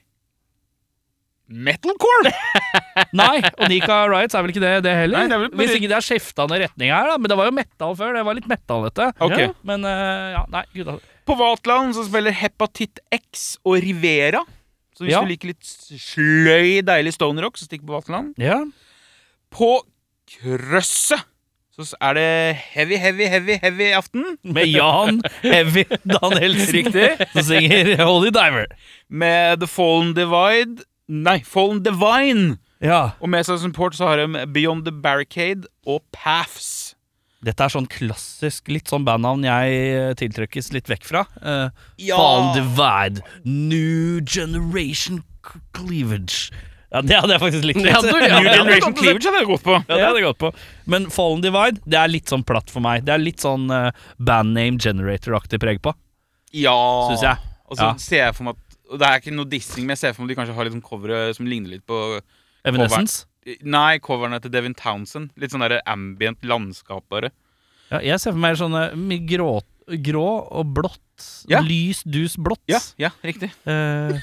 S2: metalcore!
S3: Nei, og Nika Riots er vel ikke det, det heller?
S2: Nei, det er vel bare-
S3: Hvis ikke det er skifta ned retning her, da. Men det var jo metal før. Det var litt metal, dette.
S2: Ok.
S3: Ja. Men eh, ja, nei, gud da.
S2: På Vatland så spiller Hepatitt X og Rivera. Så hvis
S3: Ja.
S2: du liker litt sløy, deilig stoner rock, så stikk på Vatland.
S3: Ja.
S2: På Krøsset så er det heavy, heavy, heavy, heavy aften.
S3: Med Jan Heavy Danielsen.
S2: Riktig.
S3: Som synger Holy Diver.
S2: Med The Fallen Divide Nei, Fallen Divine.
S3: Ja.
S2: Og med seg som support så har de Beyond the Barricade og Paths.
S3: Dette er sånn klassisk, litt sånn bandnavn jeg eh, tiltrekkes litt vekk fra. Uh,
S2: Ja.
S3: Divide, New Generation C- Cleavage. Ja, det hadde jeg faktisk likt.
S5: Det hadde du, ja.
S2: New
S5: det hadde
S2: Generation Cleavage hadde jeg gått på.
S3: Ja, det hadde jeg gått på. Men Fallen Divide det er litt sånn platt for meg. Det er litt sånn eh, band name generator-aktig preg på,
S2: Ja.
S3: syns jeg.
S2: Og så
S3: Ja.
S2: ser jeg for meg at og Det er ikke noe dissing, men jeg ser for meg at de kanskje har liksom coveret som ligner litt på
S3: Evanescence.
S2: Nei, coverne til Devin Townsend. Litt sånn der ambient landskap, bare.
S3: Ja, jeg ser for meg sånne mi- grå, grå og blått.
S2: Ja.
S3: Lys, dus, blått.
S2: Ja, ja, riktig.
S3: Eh,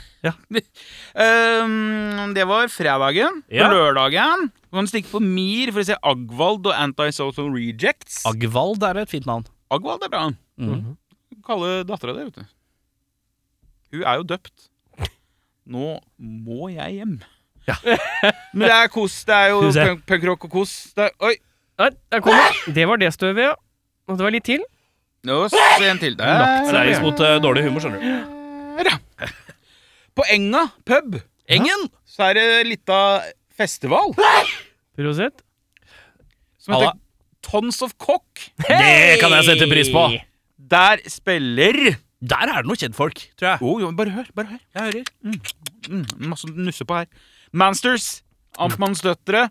S2: Ehm, det var fredagen.
S3: Ja.
S2: På lørdagen Du kan stikke på Mir for å se Agvald og Antisocial Rejects.
S3: Agvald er et fint navn.
S2: Agvald er bra.
S3: Mhm.
S2: Du kan Kalle dattera det, vet du. Hun er jo døpt. Nå må jeg hjem. <laughs> Men det er kos. Det er
S3: Skal vi
S2: jo
S3: se.
S2: punk- punkrock og kos. Det er, oi!
S5: Nei, der kom det. Det var det støvet, ja. Og det var litt til.
S2: Nå se en til.
S3: Lagt
S2: Der.
S3: seg mot eh, dårlig humor, skjønner du.
S2: På Enga pub
S3: Engen!
S2: så er det lita festival
S5: Prosett.
S2: som heter
S3: Halla.
S2: Tons of Cock.
S3: Det kan jeg sette pris på.
S2: Der spiller Oh,
S3: Der er det noen kjentfolk, tror jeg.
S2: Jo, jo, bare hør. bare hør Jeg hører. Mm, mm, masse nusse på her. Mansters. Amtmannens døtre.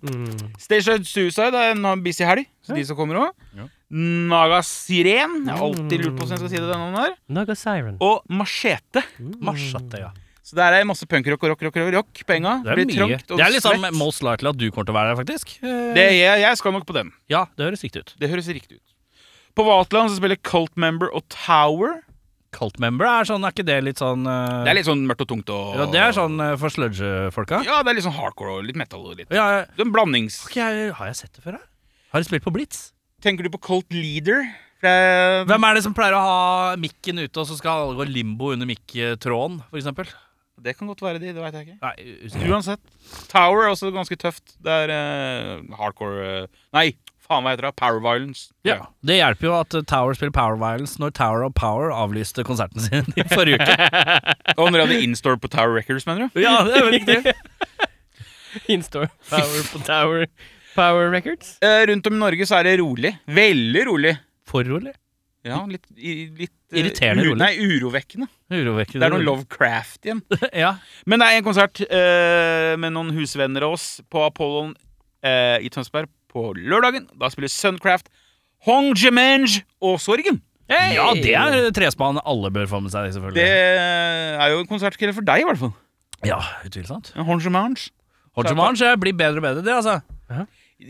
S2: Stage Dive Suicide er en busy helg, så de som kommer òg. Naga Siren. Jeg har alltid lurt på hvordan jeg skal si det. denne her
S5: Naga Siren.
S2: Og Machete.
S3: Marsjete, ja.
S2: Så der er masse punkrock og rock, rock, rock, rock på enga.
S3: Det er
S2: Blir
S3: mye.
S2: trangt og
S3: Det er liksom
S2: svett.
S3: most likely at du kommer til å være der, faktisk. Eh,
S2: Det, jeg, jeg skal nok på den.
S3: Ja, det høres riktig ut.
S2: Det høres riktig ut. På Vatland så spiller Cult Member og Tower.
S3: Cult member er sånn, er ikke det litt sånn eh,
S2: Det er litt sånn mørkt og tungt og
S3: Ja, det er sånn eh, for sludge-folka.
S2: Ja, det er litt sånn hardcore og litt metal og litt
S3: Ja, ja.
S2: Det er en blandings...
S3: Ok, jeg- har jeg sett det før? Jeg? Har de spilt på Blitz?
S2: Tenker du på Cult Leader? For det er
S3: Hvem er det som pleier å ha mikken ute, og så skal alle gå limbo under mikktråden, for eksempel?
S2: Det kan godt være de, det veit jeg ikke.
S3: Nei, usikker.
S2: Uansett. Tower er også ganske tøft. Det er eh, hardcore eh, Nei, faen hva heter det? Power violence.
S3: Ja. Det hjelper jo at eh, Tower spiller Power Violence når Tower of Power avlyste konserten sin i forrige uke.
S2: Og når de hadde install på Tower Records, mener du?
S3: <laughs> Ja, det er vel <laughs> riktig.
S5: Instore. Power
S3: <laughs>
S5: på Tower. Power Records.
S2: Eh, rundt om i Norge så er det rolig. Veldig rolig.
S3: For rolig.
S2: Ja, litt, i, litt eh,
S3: Irriterende
S2: uro-
S3: rolig.
S2: Nei, urovekkende.
S3: Urovekkende.
S2: Det er noe Lovecraft igjen.
S3: Ja.
S2: Men det er en konsert eh, med noen husvenner av oss på Apollon eh, i Tønsberg på lørdagen. Da spiller Suncraft, Hong Jemenge og Sorgen.
S3: ja, det er trespann alle bør få med seg,
S2: Det
S3: selvfølgelig.
S2: er jo en konsertkveld for deg, i hvert fall.
S3: Ja, utvilsomt.
S2: Hong Jemenge.
S3: Hodgemange jeg blir bedre og bedre, det, altså.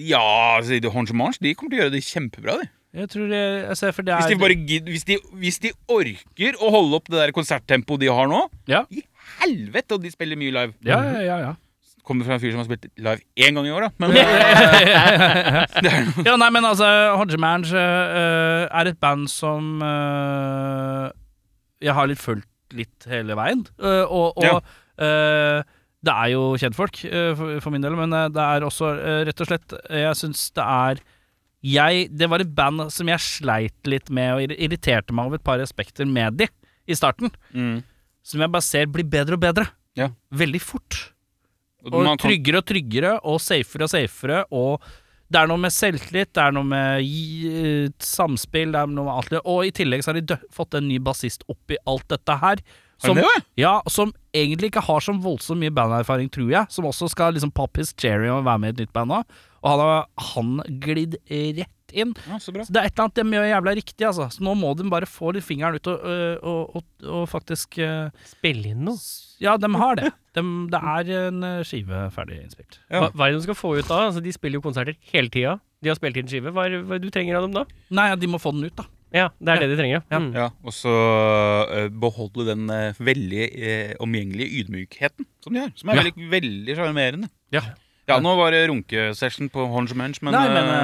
S2: Ja, altså, Hong Jemenge de kommer til å gjøre det kjempebra. De.
S3: Jeg tror det, altså, for det er
S2: Hvis, de bare gid, hvis, de, hvis de orker å holde opp det der konserttempoet de har nå
S3: Ja.
S2: I helvete, og de spiller mye live.
S3: Ja, ja, ja, ja.
S2: Kommer fra en fyr som har spilt live én gang i år, da. Men eh,
S5: Ja, nei, men altså, Hodgemange eh, er et band som eh, jeg har litt fulgt litt hele veien. Eh, og og
S2: Ja.
S5: eh, det er jo kjentfolk, eh, for, for min del, men eh, det er også eh, rett og slett eh, Jeg syns det er jeg, Det var et band som jeg sleit litt med, og irri- irriterte meg over et par aspekter med de i starten.
S2: mm,
S5: Som jeg bare ser blir bedre og bedre.
S2: Ja.
S5: Veldig fort.
S2: og
S5: Og
S2: man kan-
S5: tryggere og tryggere, og safere og safere, og det er noe med selvtillit, det er noe med gi- eh, samspill, det er noe med alt det. Og i tillegg så har de dø fått en ny bassist oppi alt dette
S2: Har
S5: her.
S2: de det, ja?
S5: ja, som egentlig ikke har så voldsomt mye banderfaring, tror jeg. Som også skal liksom poppe his cherry og være med i et nytt band nå. Og han har han glidd rett inn.
S2: Ja, så bra.
S5: Så det er et eller annet de gjør jævla riktig, altså. Så nå må de bare få litt fingeren ut og, øh, og, og, og faktisk øh,
S3: Spille inn noe.
S5: Ja, de har det. Dem- det er en øh, skive ferdig innspilt.
S2: Ja.
S3: Hva, hva er det de skal få ut av? Altså, de spiller jo konserter hele tida. De har spilt inn skive. Hva er, hva er det du trenger av dem da?
S5: Nei, ja, de må få den ut, da.
S3: Ja, det er det de trenger. Ja. Mm.
S2: Ja, og så eh, beholde den eh, veldig eh, omgjengelige ydmykheten som de har. Som er veldig, veldig sjarmerende.
S5: Ja.
S2: Ja, nå var det runkesession på Honge Munch, men,
S5: Nei, men
S2: eh,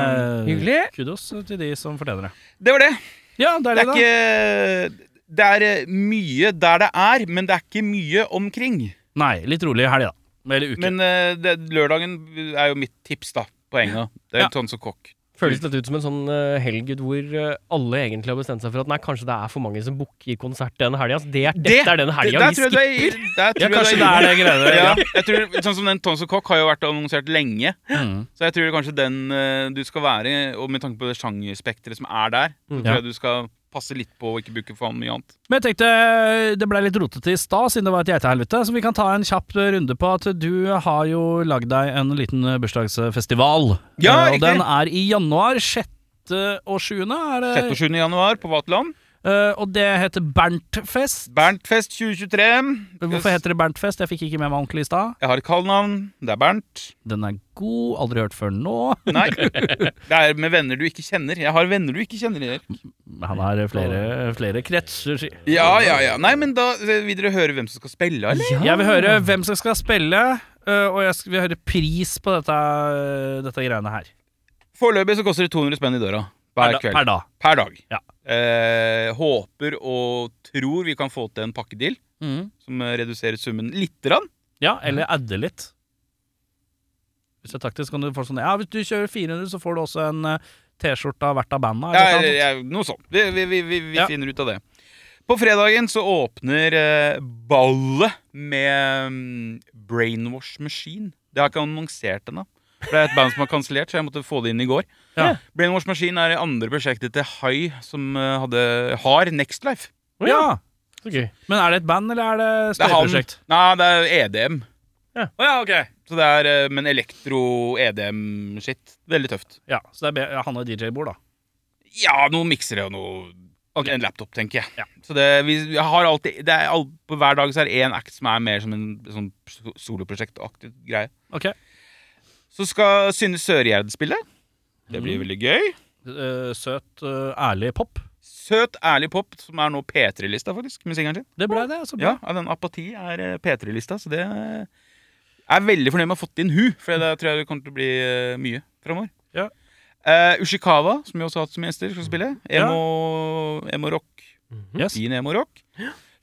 S5: eh,
S3: Hyggelig.
S5: kudos til de som fortjener det.
S2: det var det.
S5: Ja, det
S2: Det er ikke Det er eh, mye der det er, men det er ikke mye omkring.
S5: Nei, litt rolig helg, da. Eller uke.
S2: Men eh, det, lørdagen er jo mitt tips, da. Poenget. Det er
S5: Ja.
S2: en tonse kokk.
S3: Føles litt ut som en sånn eh, helg hvor eh, alle egentlig har bestemt seg for at nei, kanskje det er for mange som booker konsert den helga. Altså, det, er- dette er den helga
S2: der
S3: vi
S2: tror jeg du
S3: skipper.
S2: er- der tror
S5: ja,
S2: jeg du
S5: kanskje det
S2: inne.
S5: er det greiene der.
S2: Ja,
S5: Ja.
S2: jeg tror, sånn som den Tons og Cock har jo vært annonsert lenge.
S5: Mm.
S2: Så jeg tror kanskje den eh, du skal være, og med tanke på det sjangerspekteret som er der, så
S3: Mm.
S2: tror jeg du skal passe litt på å ikke bruke for mye annet.
S5: Men jeg tenkte eh, det ble litt rotete i stad, siden det var et geitehelvete, så vi kan ta en kjapp eh, runde på at du har jo lagd deg en liten eh, bursdagsfestival.
S2: Ja,
S5: Eh, og
S2: riktig.
S5: den er i januar. 6. og 7. er det.
S2: 6. og 7. januar på Vaterland.
S5: Eh, og det heter Berntfest.
S2: Berntfest 2023.
S5: Hvorfor heter det Berntfest? Jeg fikk ikke med meg ordentlig i stad.
S2: Jeg har et kallenavn. Det er Bernt.
S5: Den er god, aldri hørt før nå. <laughs>
S2: Nei. Det er med venner du ikke kjenner. Jeg har venner du ikke kjenner, Erik.
S5: Han har flere, flere kretser. sier-
S2: Ja, ja, ja. Nei, men da eh, vil dere høre hvem som skal spille, eller?
S5: Jeg vil høre hvem som skal spille, øh, og jeg skal, vil høre pris på dette, øh, dette greiene her.
S2: Foreløpig så koster det 200 spenn i døra. Hver
S5: da-
S2: kveld.
S5: per dag.
S2: Per dag.
S5: Ja.
S2: Eh, håper og tror vi kan få til en pakkedeal
S5: Mm.
S2: som eh, reduserer summen lite grann.
S5: Ja, eller adde litt. Hvis det er taktisk, kan du få sånn Ja, hvis du kjører 400, så får du også en øh, T-skjorte av hvert av banda. eller
S2: Ja,
S5: noe
S2: eller,
S5: sånt.
S2: ja, noe sånt. Vi, vi, vi, vi, vi
S5: Ja.
S2: finner ut av det. På fredagen så åpner eh, ballet med mm, Brainwash Machine. Det har jeg ikke annonsert ennå. For det er et band som har kansellert, så jeg måtte få det inn i går.
S5: Ja.
S2: Brainwash Machine er det andre prosjektet til Hai som eh, hadde, har Next Life.
S3: Å
S5: ja.
S3: Så gøy.
S5: Men er det et band, eller er det
S2: Det er han.
S5: støyprosjekt?
S2: Nei, det er E EDM.
S3: Ja.
S2: Å ja, ok. Så det er, eh, men E elektro-EDM-shit. Veldig tøft.
S5: Ja, så det er be- han og DJ-bord, da.
S2: Ja, noen miksere og noe En laptop, tenker jeg. Så det, vi, vi har alltid det er, all- På hver dag så er det én act som er mer som en sånn so- soloprosjektaktig greie.
S5: Ok.
S2: Så skal Synne Sørgjerd spille. Det blir veldig gøy.
S5: Øh, Mhm. søt, øh, ærlig pop.
S2: Søt, ærlig pop, som er nå P3-lista, faktisk, med singelen sin.
S5: Det ble det, altså. så bra.
S2: Ja, ja, den Apati er eh, P3-lista, så det eh, Jeg er veldig fornøyd med å ha fått inn hun, for det tror jeg det kommer til å bli eh, mye framover.
S5: Ja.
S2: Eh, Ushikawa, som vi også har hatt som gjester, skal spille.
S5: Ja. Mhm.
S2: Emo, emo-rock.
S5: Yes.
S2: Fin emo-rock.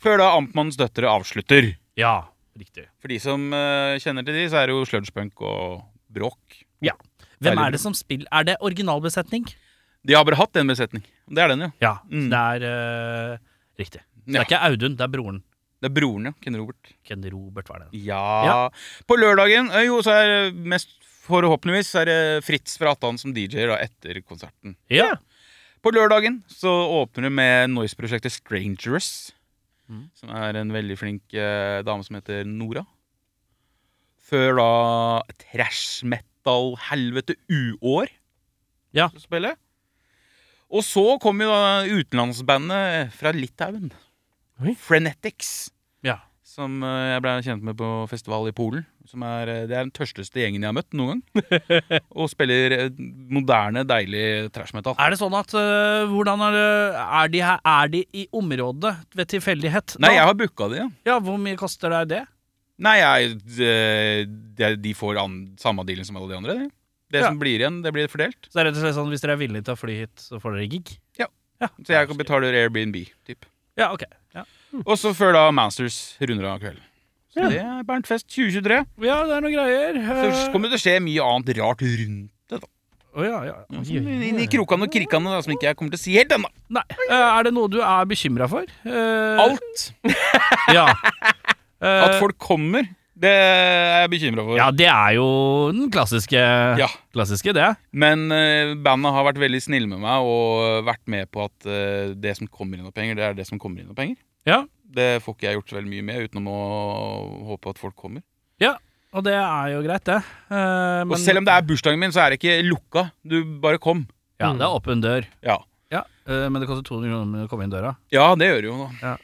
S2: Før da Amtmannens døtre avslutter.
S5: Ja, riktig.
S2: For de som eh, kjenner til de, så er det jo sludgepunk og bråk.
S5: Hvem
S2: Deilig
S5: er det som spiller Er det originalbesetning?
S2: De har bare hatt en besetning. Det er den, ja.
S5: Ja,
S2: Mm.
S5: det er øh,
S3: eh,
S5: riktig. Det
S2: Ja.
S5: er ikke Audun, det er broren.
S2: Det er broren, ja. Ken Robert.
S5: Ken Robert, hva er det?
S2: Ja. På lørdagen eh, jo, så er det mest forhåpentligvis så er det Fritz fra Atan som DJ-er da, etter konserten.
S5: Ja.
S2: På lørdagen så åpner det med Noise-prosjektet Strangerous.
S5: Mm.
S2: Som er en veldig flink eh, dame som heter Nora. Før da trash metal-helvete uår
S5: Ja.
S2: skal spille. Og så kom jo da utenlandsbandet fra Litauen.
S3: Oi.
S2: Frenetics.
S5: Ja.
S2: Som eh, jeg ble kjent med på festival i Polen. Som er, eh, det er den tørsteste gjengen jeg har møtt noen gang.
S5: <laughs>
S2: og spiller eh, moderne, deilig trash metal.
S5: Er det sånn at øh, Hvordan er det Er de, her, er de i området ved tilfeldighet? da?
S2: Nei, jeg har booka de, ja.
S5: Ja, hvor mye koster deg det?
S2: Nei, jeg, eh, de- de får an, samme dealen som alle de andre. Det, det
S1: Ja.
S2: som blir igjen, det blir fordelt.
S1: Så det er rett og slett sånn hvis dere er villige til å fly hit, så får dere gig?
S2: Så jeg betaler Airbnb. Typ.
S1: Ja, ok. Ja,
S2: Og så før da Masters runder av kvelden. Så det er Berntfest 2023.
S1: ja det er noen greier.
S2: Så kommer det til å skje mye annet rart rundt det. da
S1: Å, ja, ja.
S2: Ja, som Inn i krokene og krikkene da, som ikke jeg kommer til å si helt ennå.
S1: Nei. eh,
S3: Øh,
S1: Er det noe du er bekymra for? Eh,
S2: Alt
S3: <laughs>
S1: Ja.
S2: at
S1: Eh,
S2: folk kommer, det er jeg bekymra for.
S1: ja, det er jo den klassiske,
S2: Ja.
S1: klassiske det.
S2: Men eh, bandet har vært veldig snille med meg og vært med på at eh, det som kommer inn av penger, det er det som kommer inn av penger.
S1: Ja.
S2: Det får ikke jeg gjort så veldig mye med, utenom å håpe at folk kommer.
S1: Og det er jo greit, det. Eh, men-
S2: og selv om det er bursdagen min, så er det ikke lukka. Du bare kom.
S1: Ja, det er åpen dør.
S2: Ja,
S1: Ja, eh, Men det koster 200 kroner å komme inn døra.
S2: ja det gjør det jo nå.
S1: Ja,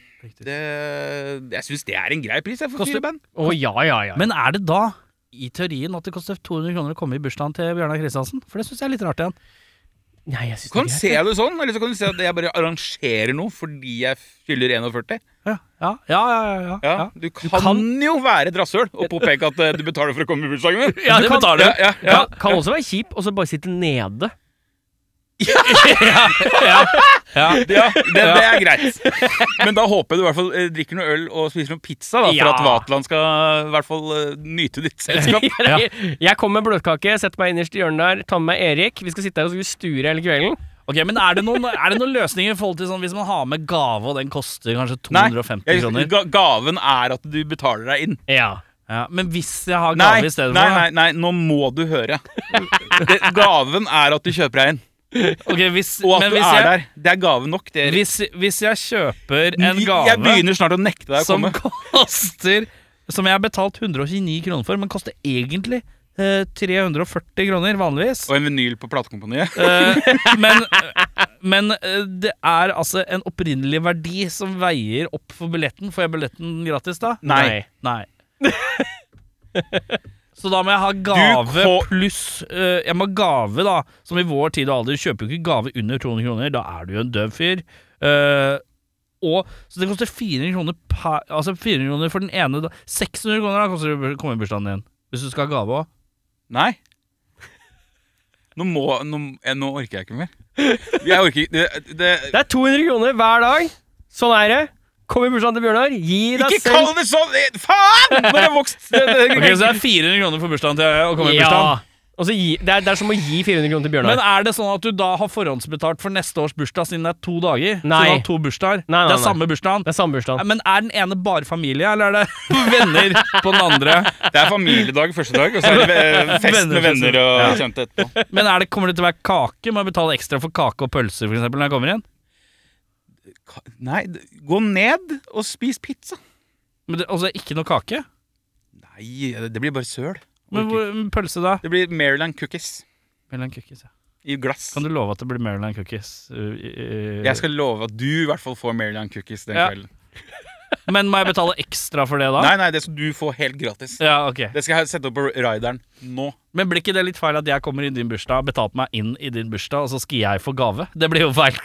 S2: det, jeg syns det er en grei pris jeg, for
S1: Koster-
S2: fire band.
S3: Å ja, ja, ja.
S1: Men er det da i teorien at det koster 200 kroner å komme i bursdagen til Bjørnar Kristiansen? For det syns jeg er litt rart igjen.
S3: Nei, jeg synes
S2: Kan du
S3: det
S2: se det sånn, eller så kan du se at jeg bare arrangerer noe fordi jeg fyller 41.
S1: Ja, ja, ja. ja, ja,
S2: Ja,
S1: ja.
S2: Du, kan jo være et rasshøl og påpeke at eh, du betaler for å komme i bursdagen min.
S3: Ja, det betaler du.
S2: Ja, ja, ja.
S3: Kan, kan også være kjip, og så bare sitte nede.
S2: <laughs> Ja, det, det er greit. Men da håper jeg du i hvert fall eh, drikker noe øl og spiser noe pizza, da, for
S3: Ja.
S2: at Vatland skal eh, i hvert fall eh, nyte ditt selskap.
S1: Ja.
S3: <laughs> Jeg kommer med bløtkake, setter meg innerst i hjørnet der, tar med meg Erik. Vi skal sitte her og skulle sture hele kvelden.
S1: Ok, Men er det noen, er det noen løsninger i forhold til sånn hvis man har med gave, og den koster kanskje
S2: Nei,
S1: 250
S2: jeg,
S1: kroner?
S2: ga- gaven er at du betaler deg inn.
S3: Ja.
S1: Ja, men hvis jeg har
S2: Nei,
S1: gave i
S2: nei,
S1: stedet for
S2: nei, nei, nå må du høre. Det, gaven er at du kjøper deg inn,
S1: Ok, hvis,
S2: og at
S1: men
S2: du
S1: hvis
S2: er
S1: jeg,
S2: der. Det er gave nok. Det er,
S1: Hvis, hvis jeg kjøper en gave
S2: Jeg begynner snart å nekte deg å
S1: som
S2: komme.
S1: koster Som jeg har betalt 129 kroner for, men koster egentlig eh, 340 kroner vanligvis.
S2: Og en vinyl på platekompaniet.
S1: Eh, men men eh, det er altså en opprinnelig verdi som veier opp for billetten. Får jeg billetten gratis da?
S2: Nei.
S1: Nei. <laughs> Så da må jeg ha gave
S2: Du ko-
S1: pluss eh, Jeg må ha gave, da. Som i vår tid og alder kjøper du ikke gave under 200 kroner. Da er du jo en døv fyr. Eh, og, så det koster 400 kroner per Altså 400 kroner for den ene. Da. 600 kroner da koster det å komme i bursdagen din. Hvis du skal ha gave òg.
S2: Nei. Nå må Nå, eh, nå orker jeg ikke mer. Jeg orker ikke det, det,
S3: Det er 200 kroner hver dag. Sånn er det. Kom i bursdagen til Bjørnar. Gi deg
S2: Ikke
S3: selv
S2: kall det sånn! eh,
S1: <laughs>
S2: Faen! Nå har jeg vokst. <laughs> Det, det,
S1: Ok, så det er 400 kroner for bursdagen til å komme i bursdagen.
S3: Ja. Og så gi, det, er, det er som å gi 400 kroner til Bjørnar.
S1: Men er det sånn at du da har forhåndsbetalt for neste års bursdag siden det er to dager? Så
S3: Nei.
S1: du har to bursdager?
S3: Nei, nei,
S1: det er
S3: nei.
S1: samme bursdagen?
S3: det er sambursdagen.
S1: Men er den ene bare familie, eller er det venner på den andre?
S2: Det er familiedag første dag, og så er det eh, fest med
S1: Venner,
S2: <laughs> venner og kjente etterpå.
S1: <laughs> Men er det, kommer det til å være kake? Må jeg betale ekstra for kake og pølser for eksempel, når jeg kommer inn?
S2: Ka- Nei, d- gå ned og spis pizza.
S1: Men det, altså, ikke noe kake?
S2: Nei, det blir bare søl.
S1: Men hvor, men pølse, da?
S2: Det blir Maryland cookies
S1: Maryland cookies, ja.
S2: i glass.
S1: Kan du love at det blir Maryland cookies? Uh, i- i-
S2: Jeg skal love at du i hvert fall får Maryland cookies den
S1: Ja.
S2: kvelden.
S1: Men må jeg betale ekstra for det da?
S2: Nei, nei, det skal du få helt gratis.
S1: Ja, ok
S2: Det skal jeg sette opp på rideren nå.
S1: Men blir ikke det litt feil at jeg kommer i din bursdag, betalt meg inn i din bursdag, og så skal jeg få gave? Det blir jo feil.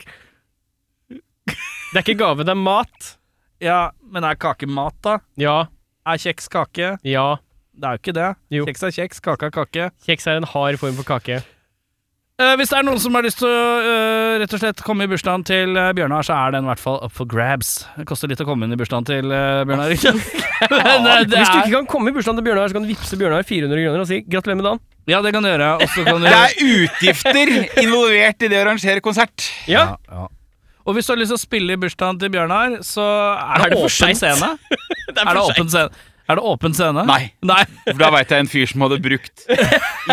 S3: Det er ikke gave, det er mat.
S1: Ja, men er kake mat, da?
S3: Ja.
S1: Er kjeks kake?
S3: Ja.
S1: Det er jo ikke det.
S3: Jo.
S1: Kjeks er kjeks, kake er kake.
S3: Kjeks er en hard form for kake.
S1: Eh, hvis det er noen som har lyst til å eh, rett og slett komme i bursdagen til eh, Bjørnar, så er den i hvert fall up for grabs. Det koster litt å komme inn i bursdagen til eh, Bjørnar. <laughs> ikke sant? Men, eh, det
S3: Hvis du
S1: er,
S3: ikke kan komme i bursdagen til Bjørnar, så kan du vippse Bjørnar 400 kroner og si gratulerer med dagen.
S1: ja, det kan du gjøre. Og så kan du
S2: Det er utgifter involvert i det å arrangere konsert.
S3: Ja.
S1: Ja, ja. Og hvis du har lyst til å spille i bursdagen til Bjørnar, så er, det,
S3: det for
S1: åpen
S3: sent?
S1: scene. er, det åpen scene? er det åpen scene?
S2: Nei.
S1: Nei.
S2: For da veit jeg en fyr som hadde brukt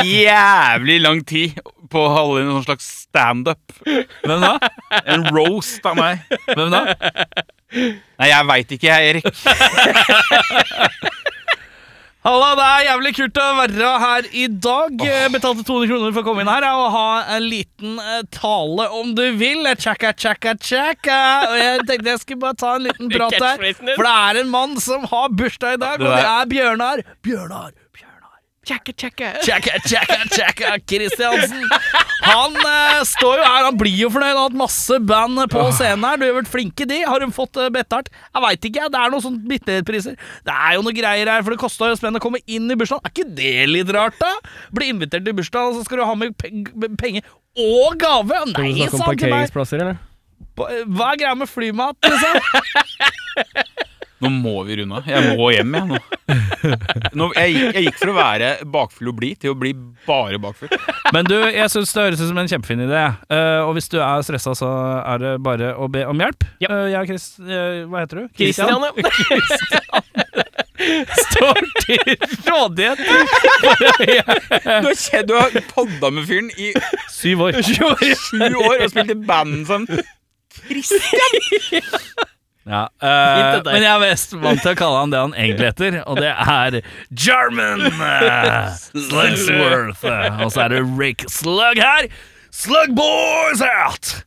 S2: jævlig lang tid på å holde inn en sånn slags standup.
S1: Hvem da?
S2: En roast av meg.
S1: Hvem da?
S2: Nei, jeg veit ikke, jeg, Erik.
S1: Halla, det er jævlig kult å være her i dag. Jeg Betalte 200 kroner for å komme inn her ja, og ha en liten eh, tale om du vil. Tjekka, tjekka, tjekka. Og jeg tenkte jeg skulle bare ta en liten prat her.
S3: catchphrasen din.
S1: For det er en mann som har bursdag i dag,
S2: Det
S1: og det
S2: der-
S1: er Bjørnar. Bjørnar, Bjørnar,
S3: Tjekke, tjekke.
S5: Tjekka, tjekka, tjekka Kristiansen. Han eh, står jo her, han blir jo fornøyd. Han har hatt masse band på scenen her. Du har vært flinke, de. Har hun fått eh, betalt? Jeg veit ikke, jeg. det er noen sånne bitte litt priser. Det er jo noe greier her, for det kosta jo spenn å komme inn i bursdagen. Er ikke det litt rart, da? Bli invitert til bursdag, og så skal du ha med pe- penger og gave? Nei,
S3: Snakke om
S5: sa han til meg.
S3: parkeringsplasser, eller?
S5: Hva er greia med flymat, liksom?
S2: Nå må vi runde av. Jeg må hjem, jeg nå. nå jeg, gikk- jeg gikk for å være bakfull og blid til å bli bare bakfull.
S5: <laughs> Men du, jeg syns det høres ut som en kjempefin idé. Eh, og hvis du er stressa, så er det bare å be om hjelp.
S3: Ja.
S5: Eh, jeg og Chris, eh, hva heter du?
S3: Christian, ja.
S5: står til rådighet
S2: Du har, kjent, du har podda med fyren i
S5: syv
S3: <laughs>
S1: <laughs>
S5: år.
S2: sju år og spilt i band sammen.
S5: Ja, eh, men jeg er mest vant til å kalle han det han egentlig heter, og det er German
S1: uh,
S5: eh, Slugsworth. Eh, Og så er det Rick Slug her. Slug boys out!